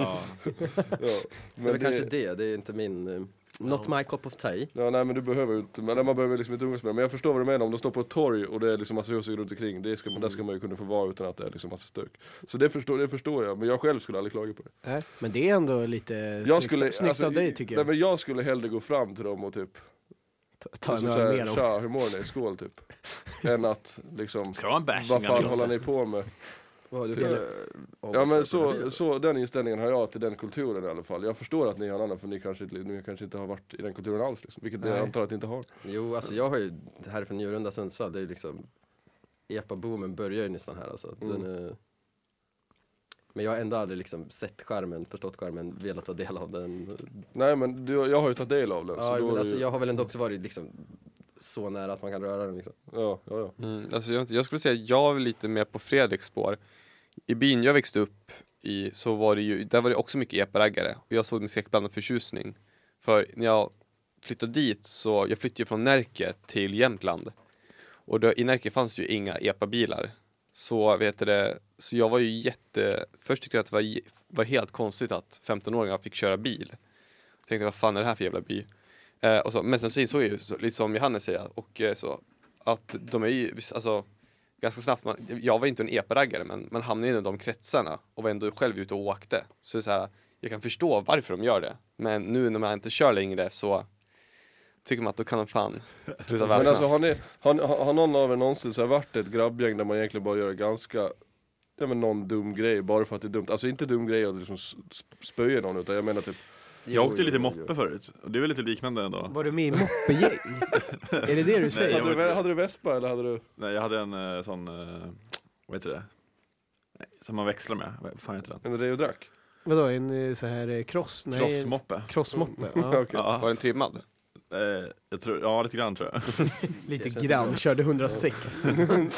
C: ja,
E: Men det
C: men
E: är kanske
C: det,
E: det, det är inte min, eh, not my cup of tea.
C: ja, nej, men du behöver ju inte, men man behöver liksom inte umgås med dem. Men jag förstår vad du menar, om de står på ett torg och det är liksom massa husdjur runt omkring, det ska, man- där ska man ju kunna få vara utan att det är liksom massa stök. Så det förstår, det förstår jag, men jag själv skulle aldrig klaga på det.
F: Nej, Men det är ändå lite
C: Jag
F: snyggt,
C: skulle, alltså,
F: snyggt av dig tycker jag.
C: Nej, men jag skulle hellre gå fram till dem och typ,
F: Ta- Ta
D: Alltså,
F: en
C: liksom
F: öl
C: såhär,
F: med dem.
C: tja hur mår ni, skål typ. Än att liksom,
D: Ska du ha en bärs?
C: vad fan
D: innan
C: håller
D: glaset?
C: ni på med?
E: Vad
C: för-
E: äh,
C: Ja men så, så, den inställningen har jag till den kulturen i alla fall. Jag förstår att ni har en annan för ni kanske, inte- ni kanske inte har varit i den kulturen alls liksom, vilket jag
F: Nej.
C: antar att ni inte har.
E: Jo, alltså jag har ju, det här är från Njurunda, Sundsvall, det är ju liksom Epa-boomen börjar ju nästan här alltså. Den är, men jag har ändå aldrig liksom sett skärmen, förstått skärmen, velat ta del av den.
C: Nej men du, jag har ju tagit del av den. så då
E: Ja,
C: är
E: men
C: det
E: alltså
C: ju,
E: jag har väl ändå också varit liksom så nära att man kan röra den liksom.
C: ja, ja, ja.
B: Mm, alltså jag, vet inte, jag skulle säga att jag är lite mer på Fredriks spår. I byn jag växte upp i så var det ju, där var det också mycket epa-raggare och jag såg det med skräckblandad förtjusning. För när jag flyttade dit så, jag flyttade ju från Närke till Jämtland. Och då, i Närke fanns ju inga epa-bilar. Så vet du det, så jag var ju jätte, först tyckte jag att det var, j- var helt konstigt att 15-åringar fick köra bil. Jag tänkte vad fan är det här för jävla by? Eh, och så, men sen så insåg jag ju, så, lite som Johannes säger, och eh, så, att de är ju, visst, alltså ganska snabbt, man, jag var inte en epa-raggare men man hamnade in i de kretsarna och var ändå själv ute och åkte. Så det är så här, jag kan förstå varför de gör det, men nu när man inte kör längre så tycker man att då kan de fan sluta
C: Men
B: väsnas.
C: alltså har, ni, har, har har någon av er någonsin så här varit ett grabbgäng där man egentligen bara gör ganska Ja men någon dum grej bara för att det är dumt, alltså inte dum grej att liksom s- s- spöa någon utan jag menar typ
D: Jag åkte lite moppe förut, och det är väl lite liknande ändå.
F: Var du med i moppegäng? är det det du säger?
D: jag
C: hade, du, vä-
D: vet inte.
C: hade du vespa eller hade du?
D: Nej, jag hade en eh, sån, eh, vad heter det? Nej, Som man växlar med, vad fan heter den?
C: En reodrack?
F: Vadå, en eh, så här eh, cross? Nej,
D: Crossmoppe? Mm.
F: crossmoppe.
C: Okej.
F: Ja.
D: Ja,
B: Var den trimmad?
D: eh, jag tror, ja lite grann tror jag.
F: Lite grann, körde 160.
D: Nej, men,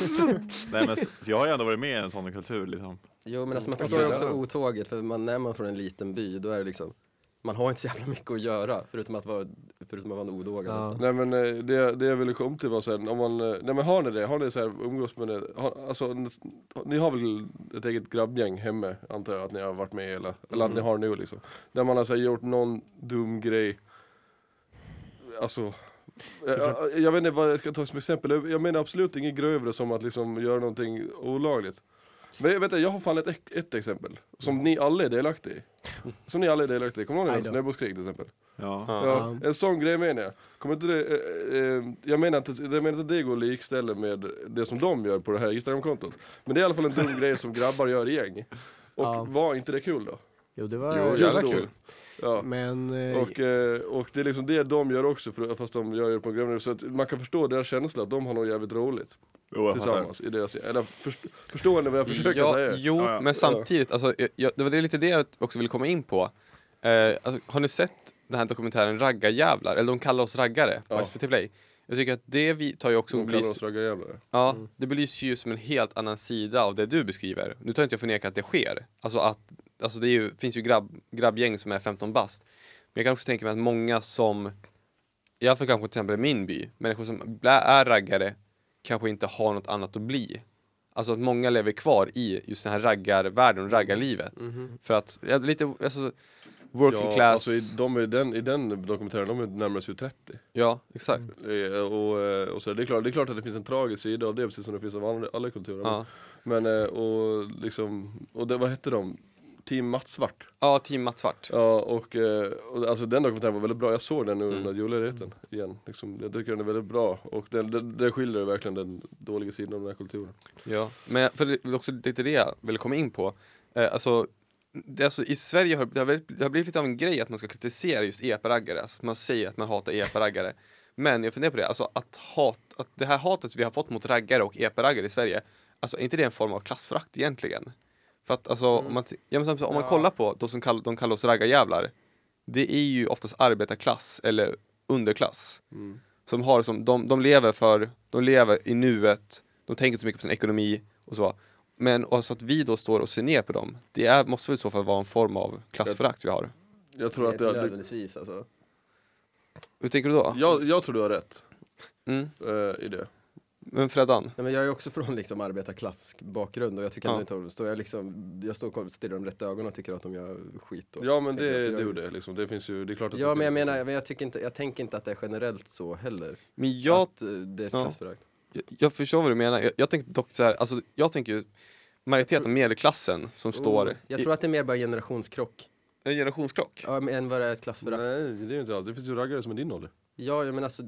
D: så, så jag har ju ändå varit med i en sån kultur liksom.
E: Jo men alltså man
C: Mm.
E: förstår ju
C: Ja.
E: också otåget för man, när man är från en liten by då är det liksom Man har inte så jävla mycket att göra förutom att vara, förutom att vara en odåga
F: Ja.
E: nästan.
C: Nej men eh, det, det jag ville komma till var sen, om man, eh, nej men har ni det? Har ni så här, umgås med det? Har, alltså, n- ni har väl ett eget grabbgäng hemma, antar jag att ni har varit med i, eller, eller att ni har nu liksom. Där man har så här, gjort någon dum grej, alltså jag, jag vet inte vad jag ska ta som exempel, Jag- jag menar absolut inget grövre som att liksom göra någonting olagligt. Men jag, vet, inte, jag har fan ett, ex- ett exempel, som ni alla är delaktiga i. Som ni alla är delaktiga i, kommer ni ihåg
F: Aj då.
C: det? Snöbollskrig till exempel.
D: Ja.
B: Ja.
C: Ja, en sån grej menar jag. Kommer inte det, eh, eh, jag menar inte jag menar inte att det går att likställa med det som de gör på det här Instagramkontot. Men det är i alla fall en dum grej som grabbar gör i gäng. Och
F: Ja.
C: var inte det kul då?
F: Jo, det var...
B: Jo,
C: Just
B: jävla
C: då.
B: kul.
C: Ja.
F: Men... eh,
C: Och, eh, och det är liksom det de gör också, för, fast de gör det på en grövre Så att man kan förstå deras känsla att de har något jävligt roligt
D: Jo, jag fattar.
C: tillsammans. I deras, eller först, förstår ni vad jag försöker
B: Ja,
C: säga?
B: jo,
D: Ja, ja.
B: men samtidigt, alltså, jag- jag, det var det lite det jag också ville komma in på. Eh, alltså, har ni sett den här dokumentären Raggarjävlar? Eller de kallar oss raggare på
C: Ja.
B: SVT Play. Jag tycker att det vi tar ju också
C: De kallar
B: belys-
C: oss raggarjävlar.
B: Ja, det belyser ju som en helt annan sida av det du beskriver. Nu tar inte jag förneka att det sker. Alltså att, alltså det är ju, finns ju grabb, grabbgäng som är 15 bast. Men jag kan också tänka mig att många som, i alla fall kanske till exempel i min by, människor som blä- är raggare kanske inte har något annat att bli. Alltså att många lever kvar i just den här raggarvärlden, raggarlivet. För att, ja, lite, alltså, working
C: Mm-hmm. Ja,
B: class.
C: alltså, i, de är, den, I den dokumentären, de är närmare sig 30.
B: Ja, exakt.
C: Eh, Och, eh, och så, det, är klart, det är klart att det finns en tragisk sida av det, precis som det finns av alla, alla kulturer.
B: Ja.
C: Men, eh, och liksom, och det, vad hette de? Team Mats Svart.
B: ja, team Mats Svart.
C: Ja, och, eh, och alltså den dokumentären var väldigt bra, jag såg den nu under julledigheten igen. Liksom, jag tycker den är väldigt bra, och den, den, den skildrar verkligen den dåliga sidan av den här kulturen.
B: Ja, men jag- för det är också lite det jag ville komma in på. Eh, alltså, det, alltså, i Sverige har det, har blivit, det har blivit lite av en grej att man ska kritisera just epa-raggare. Alltså att man säger att man hatar epa-raggare. Men jag funderar på det, alltså att, hat, att det här hatet vi har fått mot raggare och epa-raggare i Sverige, alltså är inte det en form av klassförakt egentligen? För att alltså, om man, t- ja, men som sagt, om man kollar på de som kall, de kallar oss raggarjävlar, det är ju oftast arbetarklass eller underklass som har som, de, de lever för, de lever i nuet, de tänker inte så mycket på sin ekonomi och så. Men alltså att vi då står och ser ner på dem, det är, måste väl i så fall vara en form av klassförakt vi har.
C: Jag tror att
E: Inte
C: det, det,
E: nödvändigtvis alltså.
B: Hur tänker du då?
C: jag, jag tror du har rätt
B: Mm.
C: eh, i det.
B: Men Freddan?
E: Nej, men jag är också från liksom arbetarklassbakgrund och jag tycker
B: Ja.
E: ändå inte om det. Så jag, liksom, jag står och stirrar dem rätt i ögonen och tycker att de gör skit. Och
C: Ja men
E: tänker
C: det,
E: att
C: det
E: de
C: är
E: gör-
C: ju det liksom, det finns ju, det är klart att
E: Ja
C: det
E: men jag
C: finns-
E: menar, men jag, tycker inte, jag tänker inte att det är generellt så heller.
B: Men jag
E: att eh, det är ett
B: Ja.
E: klassförakt.
B: Jag, jag förstår vad du menar. Jag, jag tänker dock så här, alltså, jag tänker ju majoriteten av medelklassen som står
E: Oh, Jag
B: i
E: tror att det är mer bara generationskrock.
B: en generationskrock.
E: Ja, men än vad det är ett klassförakt.
C: Nej det är ju inte alls, det finns ju raggare som är din ålder.
E: Ja, jag menar alltså,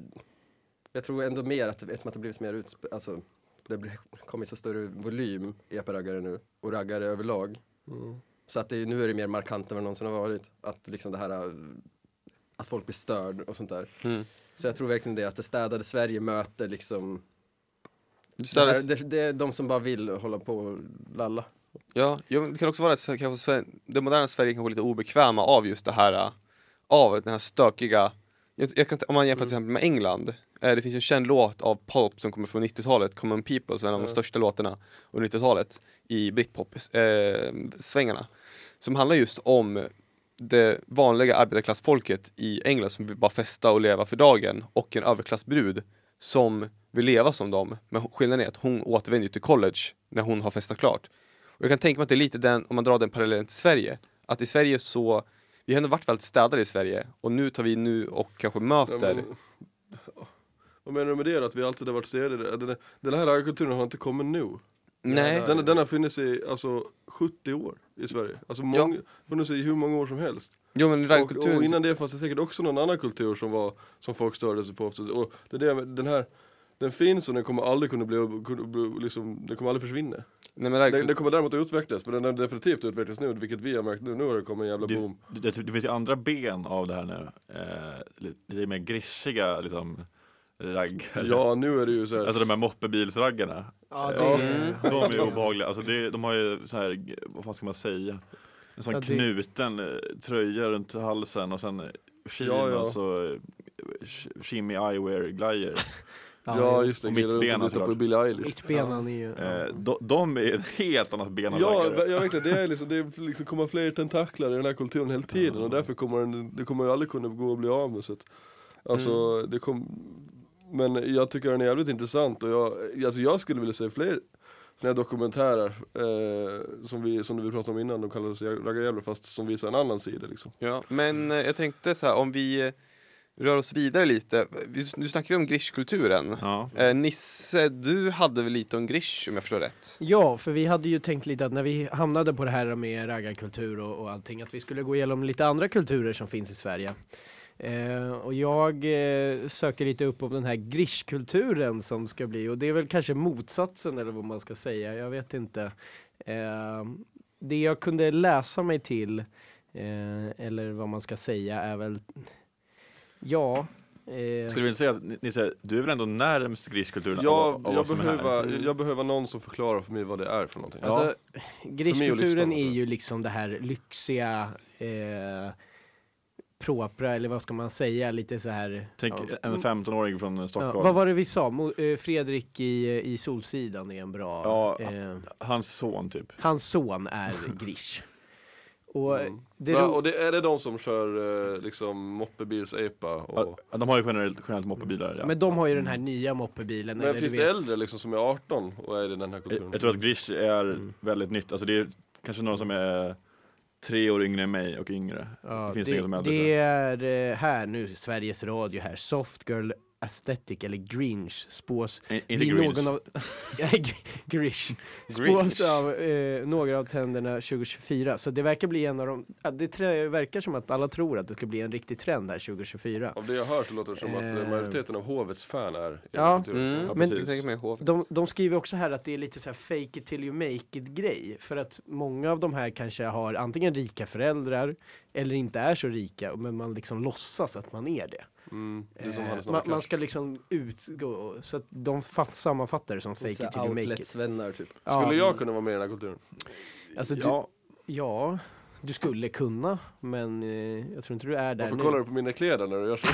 E: jag tror ändå mer att, eftersom att det blivit mer utsp... Alltså, det har kommit så större volym epa-raggare nu, och raggare överlag.
F: Mm.
E: Så att det, är- nu är det mer markant än vad det någonsin har varit. Att liksom det här, äh, att folk blir störd och sånt där.
B: Mm.
E: Så jag tror verkligen det, att det städade Sverige möter liksom, det,
B: Ställer-
E: här, det, det är de som bara vill hålla på och lalla.
B: Ja, ja, men det kan också vara att så- kanske Sver- det moderna Sverige kanske är lite obekväma av just det här, äh, av den här stökiga, jag, jag kan, ta- om man jämför till exempel med England, eh, det finns ju en känd låt av Pulp som kommer från 90-talet, Common People, som är en av de största låtarna under 90-talet i äh, britpop-svängarna, som handlar just om det vanliga arbetarklassfolket i England som vill bara festa och leva för dagen och en överklassbrud som vill leva som dem. Men skillnaden är att hon återvänder ju till college när hon har festat klart. Och jag kan tänka mig att det är lite den, om man drar den parallellen till Sverige, att i Sverige så, vi har ändå varit väldigt städade i Sverige och nu tar vi nu och kanske möter,
C: Ja, men- eh, Vad menar du med det då? Att vi alltid har varit serier? Den, den här raggarkulturen har inte kommit nu.
B: nej,
C: Den, den har funnits i alltså 70 år i Sverige. Alltså mång, funnits i hur många år som helst.
B: jo men
C: Och, och
B: raggkulturen,
C: innan det fanns det säkert också någon annan kultur som, var, som folk störde sig på. Ofta. Och det är det, med- den här den finns och den kommer aldrig kunna bli, kunna bli liksom, den kommer aldrig försvinna.
B: nej men
C: Den, den
B: raggkulturen,
C: kommer däremot att utvecklas, för den har definitivt utvecklats nu, vilket vi har märkt nu. Nu har det kommit en jävla
D: Det,
C: boom.
D: det, det finns ju andra ben av det här nu. Eh, lite- lite mer grischiga liksom raggare.
C: Ja, nu är det ju så här.
D: Alltså de här moppebilsraggarna.
F: Ja,
D: Ja,
F: det är...
D: De är ju obehagliga. Alltså det, de har ju så här, vad fan ska man säga? En sån
F: Ja, det-
D: knuten eh, tröja runt halsen och sen chinos alltså,
C: Ja, ja.
D: och eh, sh- shimmy eyewear glajjor.
C: Ja just det,
D: Och
C: killar runt och
D: mittbena
C: lyssnar på
D: såklart.
C: Billie Eilish.
F: Mittbenan är ju...
D: Eh, de, de är ett helt annat ben än
C: Ja,
D: rackare.
C: ver- ja verkligen, det är liksom, det är liksom kommer fler tentaklar i den här kulturen hela tiden och därför kommer den, det kommer ju aldrig kunna gå att bli av med. Så att, alltså, det kom, men jag tycker den är jävligt intressant och jag, alltså, jag skulle vilja se fler såna här dokumentärer eh, som, vi, som vi pratade om innan, de kallades raggarjävlar fast som visar en annan sida liksom.
B: Ja, men eh, jag tänkte så här om vi eh, rör oss vidare lite. Vi, nu snackar vi om grishkulturen.
D: Ja.
B: Eh, Nisse, du hade väl lite om grish om jag förstår rätt?
F: Ja, för vi hade ju tänkt lite att när vi hamnade på det här med raggarkultur och, och allting, att vi skulle gå igenom lite andra kulturer som finns i Sverige. Eh, och jag eh, sökte lite upp om den här grishkulturen som ska bli, och det är väl kanske motsatsen eller vad man ska säga, jag vet inte. Eh, det jag kunde läsa mig till, eh, eller vad man ska säga, är väl, ja. Eh,
D: Skulle vi inte säga att ni- ni säger, du är väl ändå närmst grishkulturen av,
C: Jag,
D: av
C: jag,
D: oss som är här?
C: behöver, jag behöver någon som förklarar för mig vad det är för någonting.
D: Ja.
F: Alltså, grishkulturen
C: livsstilen,
F: är
C: tror
F: ju liksom det här lyxiga, eh, propra, eller vad ska man säga, lite så här.
D: Tänk
F: ja.
D: en 15-åring från
F: Ja,
D: Stockholm.
F: vad var det vi sa? Mo- eh, Fredrik i, i Solsidan är en bra...
D: Ja.
F: Eh,
D: Hans son typ.
F: hans son är Grish. Och det
C: Va,
F: ro-
C: och det, är det de som kör eh, liksom moppebils-epa? Och...
D: Ja, De har ju generellt, generellt moppebilar. Ja.
F: Men de har ju den här nya moppebilen.
C: Men
F: eller
C: finns
F: du
C: det
F: vet-
C: äldre liksom som är 18 och är i den här kulturen?
D: Jag, jag tror att grish är väldigt nytt. Alltså det är kanske någon som är tre år yngre än mig och yngre.
F: Ja,
D: det finns det, ingen som är
F: det,
D: äldre.
F: det
D: tror jag.
F: är eh, här nu, Sveriges Radio här, Soft Girl Aesthetic eller Grinch spås
D: In- Inte
F: vid
D: grish.
F: någon av... Grish. Spås av eh, några av tänderna 2024. Så det verkar bli en av de... ja, Det trä, verkar som att alla tror att det ska bli en riktig trend här 2024.
C: Av det jag har hört så låter det som att
F: Eh.
C: eh, majoriteten av hovets fan är i den
F: Ja. Mm.
C: kulturen.
D: Ja,
B: men
D: precis.
B: jag tänker mig hovet.
F: De, de skriver också här att det är lite så här fake it till you make it grej. För att många av de här kanske har antingen rika föräldrar eller inte är så rika. Men man liksom låtsas att man är det.
C: Mm, det är som
F: Eh,
C: Hannes
F: man, man
C: Nacka.
F: ska liksom utgå, så att de fast sammanfattar det som fake it
E: Fake
F: till you make it.
E: Outlet-svennar typ.
C: Skulle
F: ja,
C: jag kunna vara med i den här kulturen?
F: alltså du, ja.
D: Ja.
F: du skulle kunna, men eh, jag tror inte du är där
C: Varför
F: nu.
C: kollar du på mina kläder när du gör så?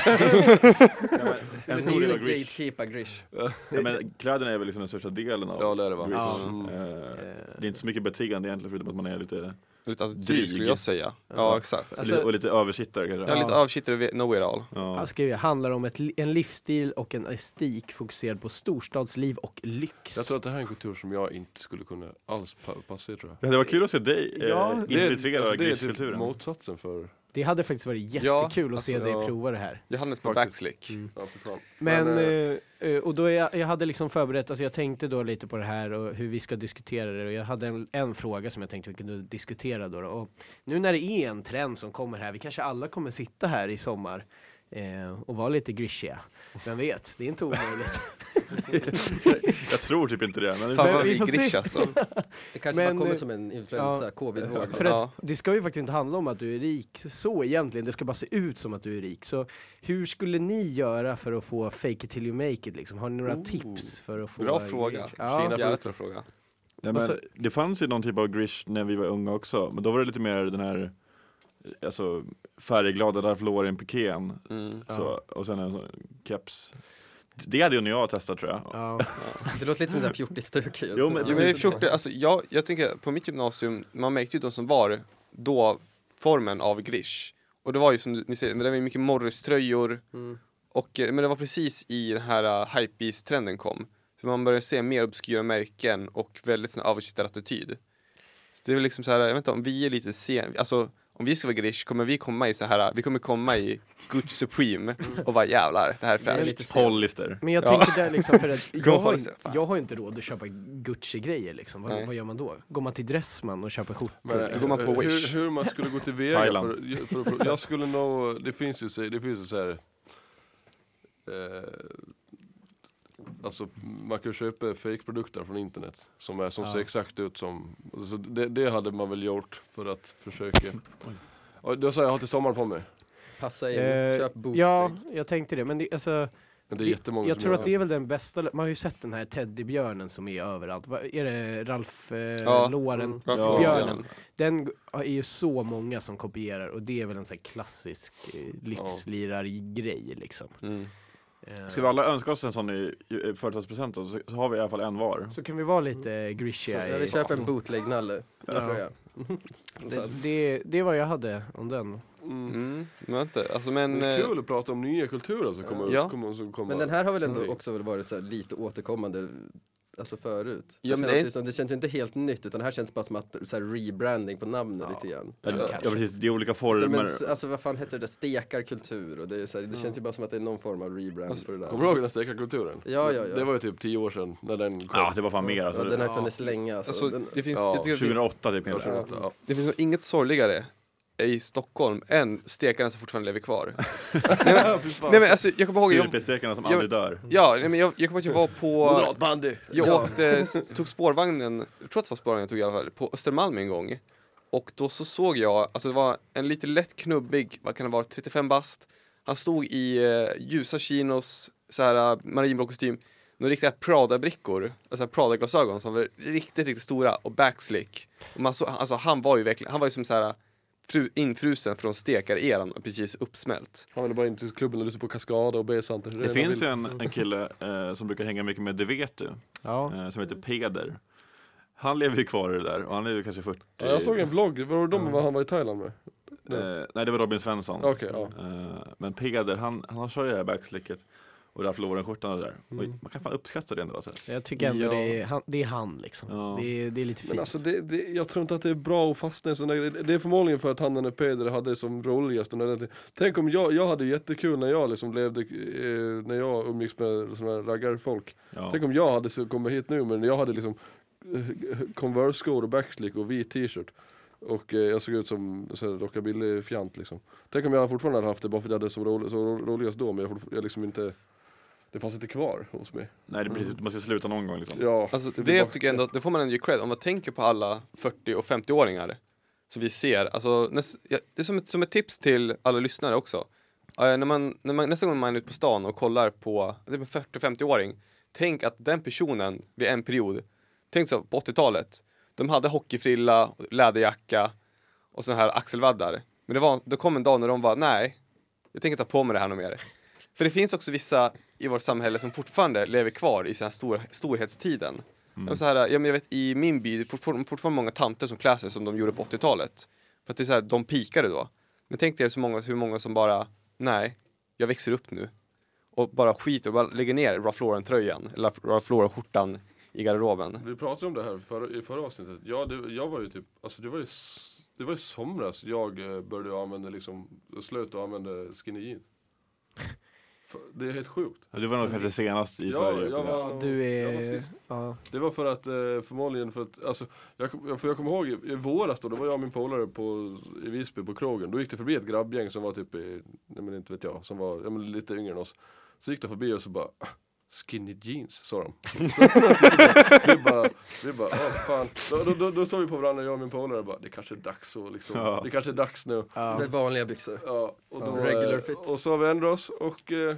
D: En
E: Men det
D: stor
E: är
D: del
E: ju
D: av grish.
E: gatekeeper grish.
D: Ja, men kläderna är väl liksom den största delen av
C: ja det är det va?
D: grish.
F: Ja.
C: Mm.
D: Eh,
F: Eh,
D: Det är inte så mycket beteende egentligen förutom att man är lite,
B: Lite attityd
D: Dryg.
B: skulle jag säga. Ja,
D: Ja.
B: exakt.
F: Alltså-
D: och lite översittare kanske.
B: Jag är lite avkittare, know it all.
D: Ja.
F: Här skriver jag, handlar om ett, li- en livsstil och en estik fokuserad på storstadsliv och lyx.
C: Jag tror att det här är en kultur som jag inte skulle kunna alls pa- passa i tror jag.
D: Det hade varit kul att se dig eh,
F: Ja.
D: infiltrera
C: alltså, det är typ
D: grishkulturen.
C: motsatsen för...
F: Det hade faktiskt varit
B: Ja,
F: jättekul att se
C: alltså,
F: dig
C: ja.
F: prova det här.
B: Johannes på
C: Faktiskt. Mm.
B: backslick.
C: Ja, för fan.
F: Men,
C: eh,
F: eh, eh, och då är jag, jag hade liksom förberett, alltså jag tänkte då lite på det här och hur vi ska diskutera det och jag hade en, en fråga som jag tänkte vi kunde diskutera då. Och nu när det är en trend som kommer här, vi kanske alla kommer sitta här i sommar eh, och vara lite grishiga. Vem vet, det är inte omöjligt.
D: Jag tror typ inte det. Men
B: Fan
F: Men
B: vad
F: vi
B: vi
F: får se.
B: grish alltså.
E: Det kanske
F: Men,
E: bara kommer
F: eh,
E: som en influensa,
F: ja.
E: covid-våg.
F: För
B: Ja.
F: att det ska ju faktiskt inte handla om att du är rik så egentligen, det ska bara se ut som att du är rik. Så hur skulle ni göra för att få fake it till you make it liksom? Har ni några tips för att få?
B: Bra fråga.
F: Ja.
B: Jävligt bra fråga.
D: Nej,
F: Och så-
D: men det fanns ju någon typ av grish när vi var unga också, men då var det lite mer den här alltså, färgglada Ralph Lauren-pikén
B: Mm.
D: så- och sen en sån keps. Det hade ju när jag testat tror jag.
F: Ja.
E: Det låter lite som en sån här fjortisstuk.
D: Jo, men-
B: Jo, men det är 14, alltså, jag, jag tänker på mitt gymnasium, man märkte ju de som var då formen av grish. Och det var ju som du- ni säger, men det var ju mycket Morris-tröjor. Och, eh, men det var precis i den här uh, hypebeast-trenden kom. Så man började se mer obskyra märken och väldigt sån översittarattityd. Så det är väl liksom så här, jag vet inte om vi är lite sen, alltså om vi ska vara grish kommer vi komma i så här, vi kommer komma i Gucci Supreme och bara jävlar, det här är fräscht.
D: Typ Hollister.
F: Men jag
B: Ja.
F: tänker där liksom för att jag har,
B: Golf, fan.
F: jag har inte råd att köpa Gucci-grejer liksom.
B: Nej.
F: Vad, vad gör man då? Går man till Dressman och köper
C: Men,
F: skjortor?
B: Då går man på
C: eh,
B: Wish.
C: Hur, hur man skulle gå till väga
D: Thailand.
C: för, för, att- Jag skulle nog, det finns ju, så- det finns ju så här. Eh, alltså man kan ju köpa fake-produkter från internet som, är, som
F: Ja.
C: ser exakt ut som, alltså, det, det hade man väl gjort för att försöka Ja, det sa jag, jag har till sommaren på mig.
E: Passa in,
F: Eh,
E: köp bootleg.
F: Ja, jag tänkte det. Men det, alltså,
C: Men det är
F: Det-
C: jättemånga
F: jag
C: som
F: tror
C: gör
F: att det är väl den bästa. Man har ju sett den här teddybjörnen som är överallt. Vad- Är det Ralf eh,
B: Ja. mm.
F: Lauren?
B: Bra
D: Ja.
B: fråga.
F: Björnen. Den g- är ju så många som kopierar och det är väl en sån här klassisk eh, lyxlirar-grej liksom.
B: Mm.
F: Eh,
D: Ska vi alla önska oss en sån i, i, i företagspresent då? Så, så har vi i alla fall en var.
F: Så kan vi vara lite grishiga
E: Jag
F: i...
E: vill köpa en bootleg-nalle,
F: Ja.
E: tror jag.
F: Det, det, det är vad jag hade om den.
C: Mm.
B: Mm, men inte. Alltså men...
C: det är
B: eh,
C: kul att prata om nya kulturer som kommer
B: Ja.
C: ut. Kommer, som kommer.
E: Men den här har väl ändå
C: Nej.
E: också väl varit så här lite återkommande Alltså förut.
B: Ja,
E: det,
B: men
E: känns
B: det
E: det,
B: är-
E: ju som, det känns ju inte helt nytt utan det här känns bara som att så här, rebranding på namnet lite grann.
D: Ja,
B: Ja,
D: ja
B: kanske.
D: precis, det är olika
E: Så, men,
D: former.
E: s- alltså vad fan heter det där, stekarkultur och det, är så här, det känns ju bara som att det är någon form av rebrand
C: Alltså,
E: för det där.
C: Kommer du ihåg den här säkra kulturen?
E: Ja, ja, ja.
C: Det var ju typ tio år sedan när den kom.
D: Ja, det var fan mer alltså.
E: ja, den har
D: det,
E: ju funnits länge alltså.
B: Alltså,
E: den,
B: det finns,
C: ja,
B: jag tycker att det,
D: 2008 typ kanske.
E: Ja.
C: Ja. Ja.
B: det finns nog inget sorgligare i Stockholm än stekarna som fortfarande lever kvar. nej, men, nej men alltså, jag kommer ihåg, jag,
D: Styrpestekarna som
B: Ja,
D: aldrig dör.
B: ja, nej, men jag, jag kommer ihåg att jag var på...
C: Moderatbandy!
B: Jag åkte, eh, tog spårvagnen, jag tror att det var spårvagnen jag tog i alla fall, på Östermalm en gång. Och då så såg jag, alltså det var en lite lätt knubbig, vad kan det vara, 35 bast. Han stod i eh, ljusa chinos, så här eh, marinblå kostym, några riktiga Prada-brickor, alltså Prada-glasögon som var riktigt, riktigt stora och backslick. Och man så, alltså han var ju verkligen, han var ju som så här fru, infrusen från stekareran och precis uppsmält.
C: Han ville bara in till klubben och lyssna på Cascada och B-Santer.
D: Det finns ju en, en kille eh, som brukar hänga mycket med, det vet du,
F: Ja.
D: eh, som heter Peder. Han lever ju kvar i det där och han lever kanske 40.
C: Ja, jag såg en vlogg, var det de han var i Thailand med?
D: Eh, nej, det var Robin Svensson.
C: Mm. Okej, ja.
D: Eh, men Peder, han, han kör ju det här backslicket och det här Florenskjortan och det där.
C: Mm.
D: Och man kan fan uppskatta det ändå alltså.
F: Jag tycker ändå
B: Ja.
F: det, är han, det är han liksom.
D: Ja.
F: Det, är, det är lite fint.
C: Men alltså det, det, jag tror inte att det är bra att fastna i sådana grejer. Det är förmodligen för att han och Peder hade det som roligast. under den tiden. Tänk om jag, jag hade jättekul när jag liksom levde, eh, när jag umgicks med sådana här raggarfolk.
D: Ja.
C: Tänk om jag hade så- kommit hit nu men jag hade liksom eh, Converse-skor och backslick och vit t-shirt. Och eh, jag såg ut som så här rockabilly-fjant liksom. Tänk om jag fortfarande hade haft det bara för att jag hade det som rolig, så ro- roligast då men jag, fortfar- jag liksom inte det fanns inte kvar hos mig.
D: Nej, det är
C: Mm.
D: precis, man ska sluta någon gång liksom.
C: Ja,
B: Alltså det,
C: blir bara-
B: tycker jag ändå, det får man ändå ge cred om man tänker på alla 40 och 50-åringar som vi ser. Alltså, näs, ja, det är som ett, som ett tips till alla lyssnare också. Eh, när man, när man, nästa gång man är ute på stan och kollar på det är en 40 och 50-åring, tänk att den personen vid en period, tänk så på 80-talet, de hade hockeyfrilla, läderjacka och sådana här axelvaddar. Men det, var, det kom en dag när de var nej, jag tänker ta på mig det här något mer. För det finns också vissa i vårt samhälle som fortfarande lever kvar i så här stor, storhetstiden. Mm. Så här, ja, men jag vet, I min by det är fortfarande, fortfarande många tanter som klär sig som de gjorde på 80-talet. För att det är så här, de pikade då. Men tänk dig så många, hur många som bara, nej, jag växer upp nu. Och bara skiter och bara lägger ner Ralph Lauren-tröjan, eller Ralph Lauren-skjortan i garderoben.
C: Vi pratade om det här förra, i förra avsnittet. Ja, det, jag var ju typ, alltså det var ju, s- det var ju somras jag eh, började använda liksom, slöt att använda skinny jeans. För- Det är helt sjukt.
D: Ja, Du var nog kanske senast i
C: Ja,
D: Sverige.
C: jag
D: på det.
C: var,
F: du
C: jag var
F: är...
C: sist.
F: Ja.
C: Det var för att, eh, förmodligen för att, alltså, jag, kom- jag- för jag kommer ihåg i, i våras då, då var jag och min polare på, i Visby på krogen. Då gick det förbi ett grabbgäng som var typ i, nej men inte vet jag, som var ja, men lite yngre än oss. Så gick de förbi och så bara "Ah, Skinny jeans sa de. vi bara, vi bara, åh fan. Då, då, då, då såg vi på varandra, jag och min polare och bara, det kanske är dags och liksom,
D: Ja.
C: det kanske är dags nu.
E: det är vanliga byxor.
C: Ja, och, då,
E: Regular
C: eh,
E: fit.
C: och så har vi ändrat oss och eh,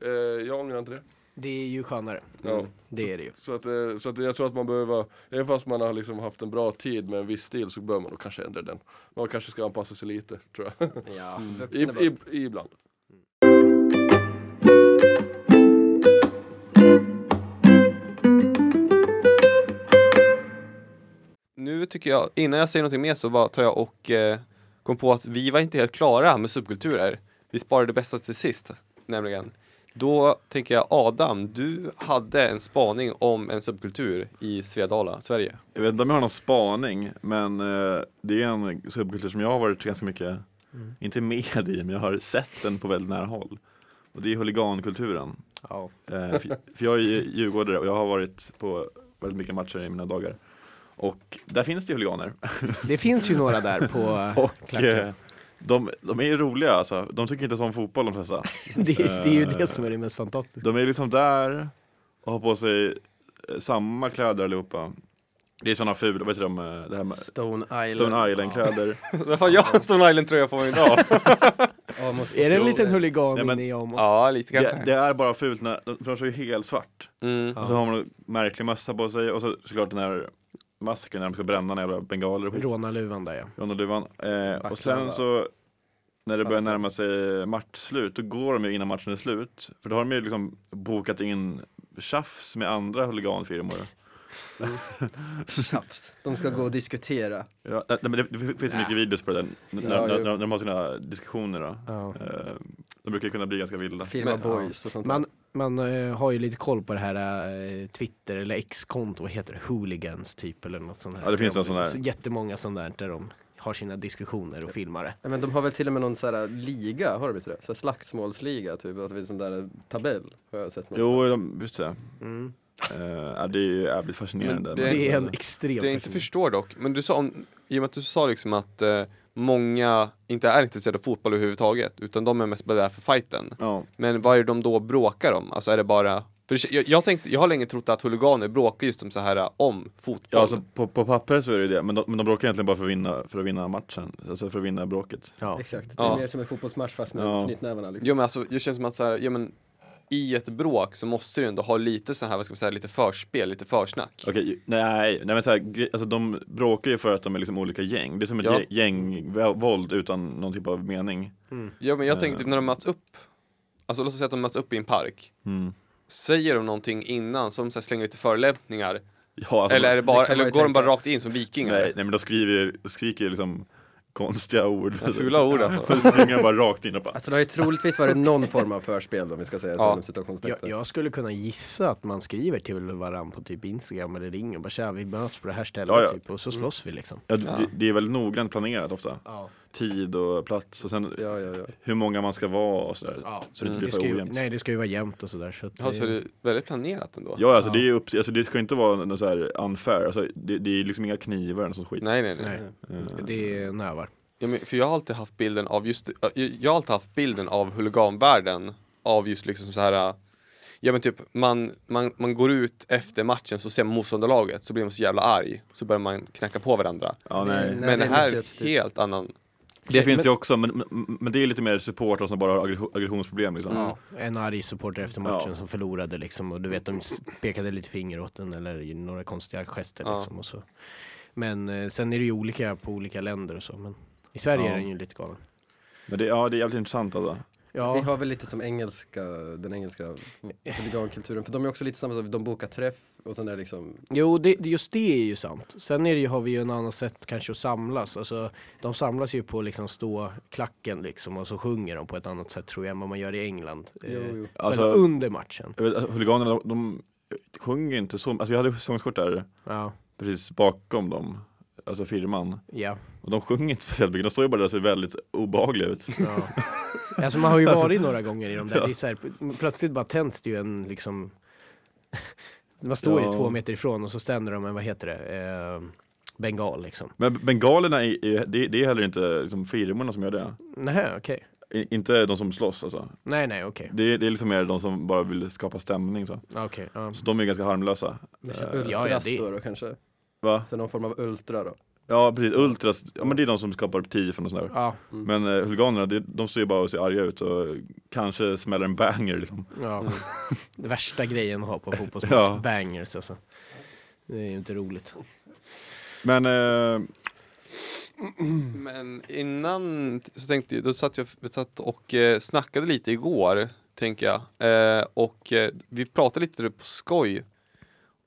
C: eh, jag ångrar inte det.
F: Det är ju skönare.
C: Ja.
F: Det är det ju.
C: Så att, eh, så att jag tror att man behöver, även fast man har liksom haft en bra tid med en viss stil så bör man nog kanske ändra den. Man kanske ska anpassa sig lite, tror jag.
E: Ja,
C: I, i, ibland.
B: Nu tycker jag, innan jag säger någonting mer så bara tar jag och eh, kom på att vi var inte helt klara med subkulturer. Vi sparade det bästa till sist, nämligen. Då tänker jag Adam, du hade en spaning om en subkultur i Svedala, Sverige.
D: Jag vet inte om jag har någon spaning, men eh, det är en subkultur som jag har varit ganska mycket,
C: Mm.
D: inte med i, men jag har sett den på väldigt nära håll. Och det är huligankulturen.
F: Ja.
D: Eh, för för jag är ju djurgårdare och jag har varit på väldigt mycket matcher i mina dagar. Och där finns det huliganer.
F: Det finns ju några där på
D: Och
F: klacken.
D: eh, de, de är ju roliga alltså. De tycker inte så om fotboll de flesta.
F: det, det är ju
D: eh,
F: det som är det mest fantastiska.
D: De är liksom där och har på sig eh, samma kläder allihopa. Det är sådana fula, vad heter de, eh, det här med
E: Stone Island.
D: Stone Island-kläder.
B: Vad fan, jag har en Stone Island-tröja på mig idag.
E: Ja, Amos-
F: Är det en
E: Jo,
F: liten huligan
D: Nej, men-
F: inne i Amos?
B: ja, lite
D: Det,
B: kanske.
D: det är bara fult när, de de kör ju helt svart.
B: Mm.
D: Och så har man en märklig mössa på sig och så såklart den här masken när de ska bränna några jävla bengaler och skit.
F: Rånarluvan där ja.
D: Ronald Luvan. Eh, och sen så när det börjar närma sig matchslut, då går de ju innan matchen är slut. För då har de ju liksom bokat in tjafs med andra huliganfirmor.
E: Tjafs. De ska gå och diskutera.
D: Ja, Eh, nej, men det, det finns ju mycket videos på det där, när,
E: Ja,
D: när,
E: jo.
D: när de har sina diskussioner. Då.
F: Ja.
D: Eh, De brukar ju kunna bli ganska vilda.
E: Firma
F: Men,
E: boys och sånt
F: Man,
E: där.
F: man eh, har ju lite koll på det här eh, Twitter eller X-konto, vad heter det? Hooligans typ eller något sånt här.
D: Ja, det finns
F: De-
D: en sån där.
F: så Jättemånga sådana där där de har sina diskussioner och filmar det.
E: Ja, Men de har väl till och med någon sån här liga, har de inte det? Så här slagsmålsliga, typ. Att det finns en där tabell, har jag sett
D: Jo,
E: någonstans.
D: de, just det. Eh, ja, det är ju jävligt fascinerande.
B: Men
D: men-
F: Det är en extrem
B: Det jag inte
F: person.
B: förstår dock, men du sa, om, i och med att du sa liksom att eh, många inte är intresserade av fotboll överhuvudtaget, utan de är mest bara där för fighten.
D: Ja.
B: Men vad är det de då bråkar om? Alltså är det bara... För det- jag, jag, tänkte, jag har länge trott att huliganer bråkar just om så här äh, om fotboll.
D: Ja, alltså på, på papper så är det ju det, men de, men de bråkar egentligen bara för att vinna, för att vinna matchen, alltså för att vinna bråket.
F: Ja.
E: Exakt, det är
B: Ja.
E: mer som en fotbollsmatch fast med
D: Ja.
E: knytnävarna. Liksom.
B: Jo men alltså, det känns som att så här, ja, men, i ett bråk så måste du ändå ha lite så här, vad ska man säga, lite förspel, lite försnack.
D: Okej, ju- nej, nej men så här, gre- alltså de bråkar ju för att de är liksom olika gäng. Det är som ett
B: Ja.
D: gäng gängvåld utan någon typ av mening.
B: Ja men jag tänkte typ när de möts upp, alltså låt oss säga att de möts upp i en park.
D: Mm.
B: Säger de någonting innan, som så här, slänger lite förolämpningar?
D: Ja, alltså,
B: eller är det bara,
E: det kan man
B: eller
E: ju
B: går de
E: tänka.
B: bara rakt in som vikingar?
D: nej, nej, men de skriver, ju- skriker ju liksom konstiga ord.
B: Ja, Fula ord
D: Så
B: alltså.
D: springer de bara rakt in och bara,
E: Alltså det har ju troligtvis varit någon form av förspel om vi ska säga så.
B: Ja.
E: inom
F: Jag,
E: citationstecken.
F: jag skulle kunna gissa att man skriver till varandra på typ Instagram eller ring och bara tja vi möts på det här stället
D: Ja, ja.
F: Typ, och så slåss vi liksom.
D: ja, det, det är väldigt noggrant planerat ofta.
F: Ja.
D: Tid och plats och sen
E: Ja, ja, ja.
D: hur många man ska vara och sådär.
F: Ja.
D: Så det inte blir
F: Mm. Det
D: för
F: ska ju,
D: ojämnt.
F: nej det ska ju vara jämnt och sådär. Så att,
B: Ja, så
F: eh,
B: det är väldigt planerat ändå.
D: Ja, alltså,
F: Ja.
D: Det, är ju upp, alltså det ska inte vara något så här unfair, alltså, det, det är liksom inga knivar eller sån skit.
B: Nej, nej, nej.
F: nej,
D: Eh,
F: det är nävar.
B: Ja, men, för jag har alltid haft bilden av just, äh, jag har alltid haft bilden av huliganvärlden av just liksom så här äh, Ja men typ, man, man, man går ut efter matchen så ser man motståndarlaget så blir man så jävla arg så börjar man knacka på varandra.
D: Ja, nej.
E: Nej,
B: men det
E: det är
B: här
E: mycket
B: är
E: uppstyrt.
B: helt annan.
D: Det finns ju också, men, men, men det är lite mer supportrar som bara har aggression- aggressionsproblem liksom.
F: En arg supporter efter matchen
D: Ja.
F: som förlorade liksom och du vet de s- pekade lite finger åt den eller gjorde några konstiga gester
B: Ja.
F: liksom och så. Men eh, sen är det ju olika på olika länder och så men i Sverige
D: Ja.
F: är den ju lite galen.
D: Men det, ja, det är jävligt intressant alltså.
E: Vi
F: Ja,
E: har väl lite som engelska, den engelska huligankulturen, för de är också lite samma sak, de bokar träff och sen är det liksom
F: jo det, det- just det är ju sant. Sen är det ju, har vi ju en annan sätt kanske att samlas. Alltså, de samlas ju på liksom stå klacken liksom och så sjunger de på ett annat sätt tror jag än vad man gör i England. Eh,
E: Jo, jo.
D: Alltså-
F: Eller under matchen.
D: Jag vet, alltså, Huliganerna, de, de sjunger inte så, alltså jag hade sångskort där
F: Ja,
D: precis bakom dem, alltså firman.
F: ja.
D: Och de sjunger inte speciellt mycket, de står ju bara där och ser väldigt obehagliga ut.
F: Ja. Alltså man har ju varit några gånger i de där, det är så här, plötsligt bara tänds det ju en liksom Man står
D: Ja.
F: ju två meter ifrån och så ständer de en, vad heter det, eh, bengal liksom.
D: Men bengalerna, är, är, det, det är heller inte liksom, firmorna som gör det.
F: Nej, okej.
D: I, inte de som slåss alltså.
F: Nej, nej, okej.
D: Det, är- det är liksom mer de som bara vill skapa stämning så.
F: Ja, Okej, ja.
D: Så de är ganska harmlösa.
E: mer så här
D: Eh,
F: ja, ja,
E: ultras
F: det-
E: då, då kanske.
D: va?
E: Så någon form av ultra då.
D: Ja precis, ultras, ja men det är de som skapar tifon och sådär.
F: Ja,
D: Men eh, huliganerna, det, de ser ju bara och ser arga ut och kanske smäller en banger liksom.
F: ja. Det värsta grejen att ha på fotbollsmatch,
D: Ja.
F: bangers alltså. Det är ju inte roligt.
D: Men eh,
B: Men innan så tänkte jag, då satt jag vi satt och eh, snackade lite igår, tänker jag. Eh, och eh, vi pratade lite på skoj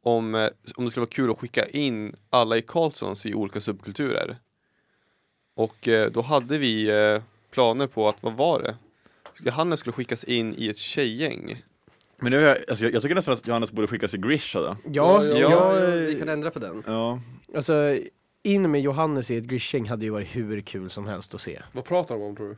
B: om, eh, om det skulle vara kul att skicka in alla i Karlssons i olika subkulturer. Och eh, då hade vi eh, planer på att, vad var det? Johannes skulle skickas in i ett tjejgäng.
D: Men nu har jag, alltså jag, jag tycker nästan att Johannes borde skickas till Grisha då.
F: Ja,
E: ja,
F: ja,
E: vi kan ändra på den.
D: Ja,
F: alltså in med Johannes i ett grishing hade ju varit hur kul som helst att se.
C: Vad pratar de om tror du?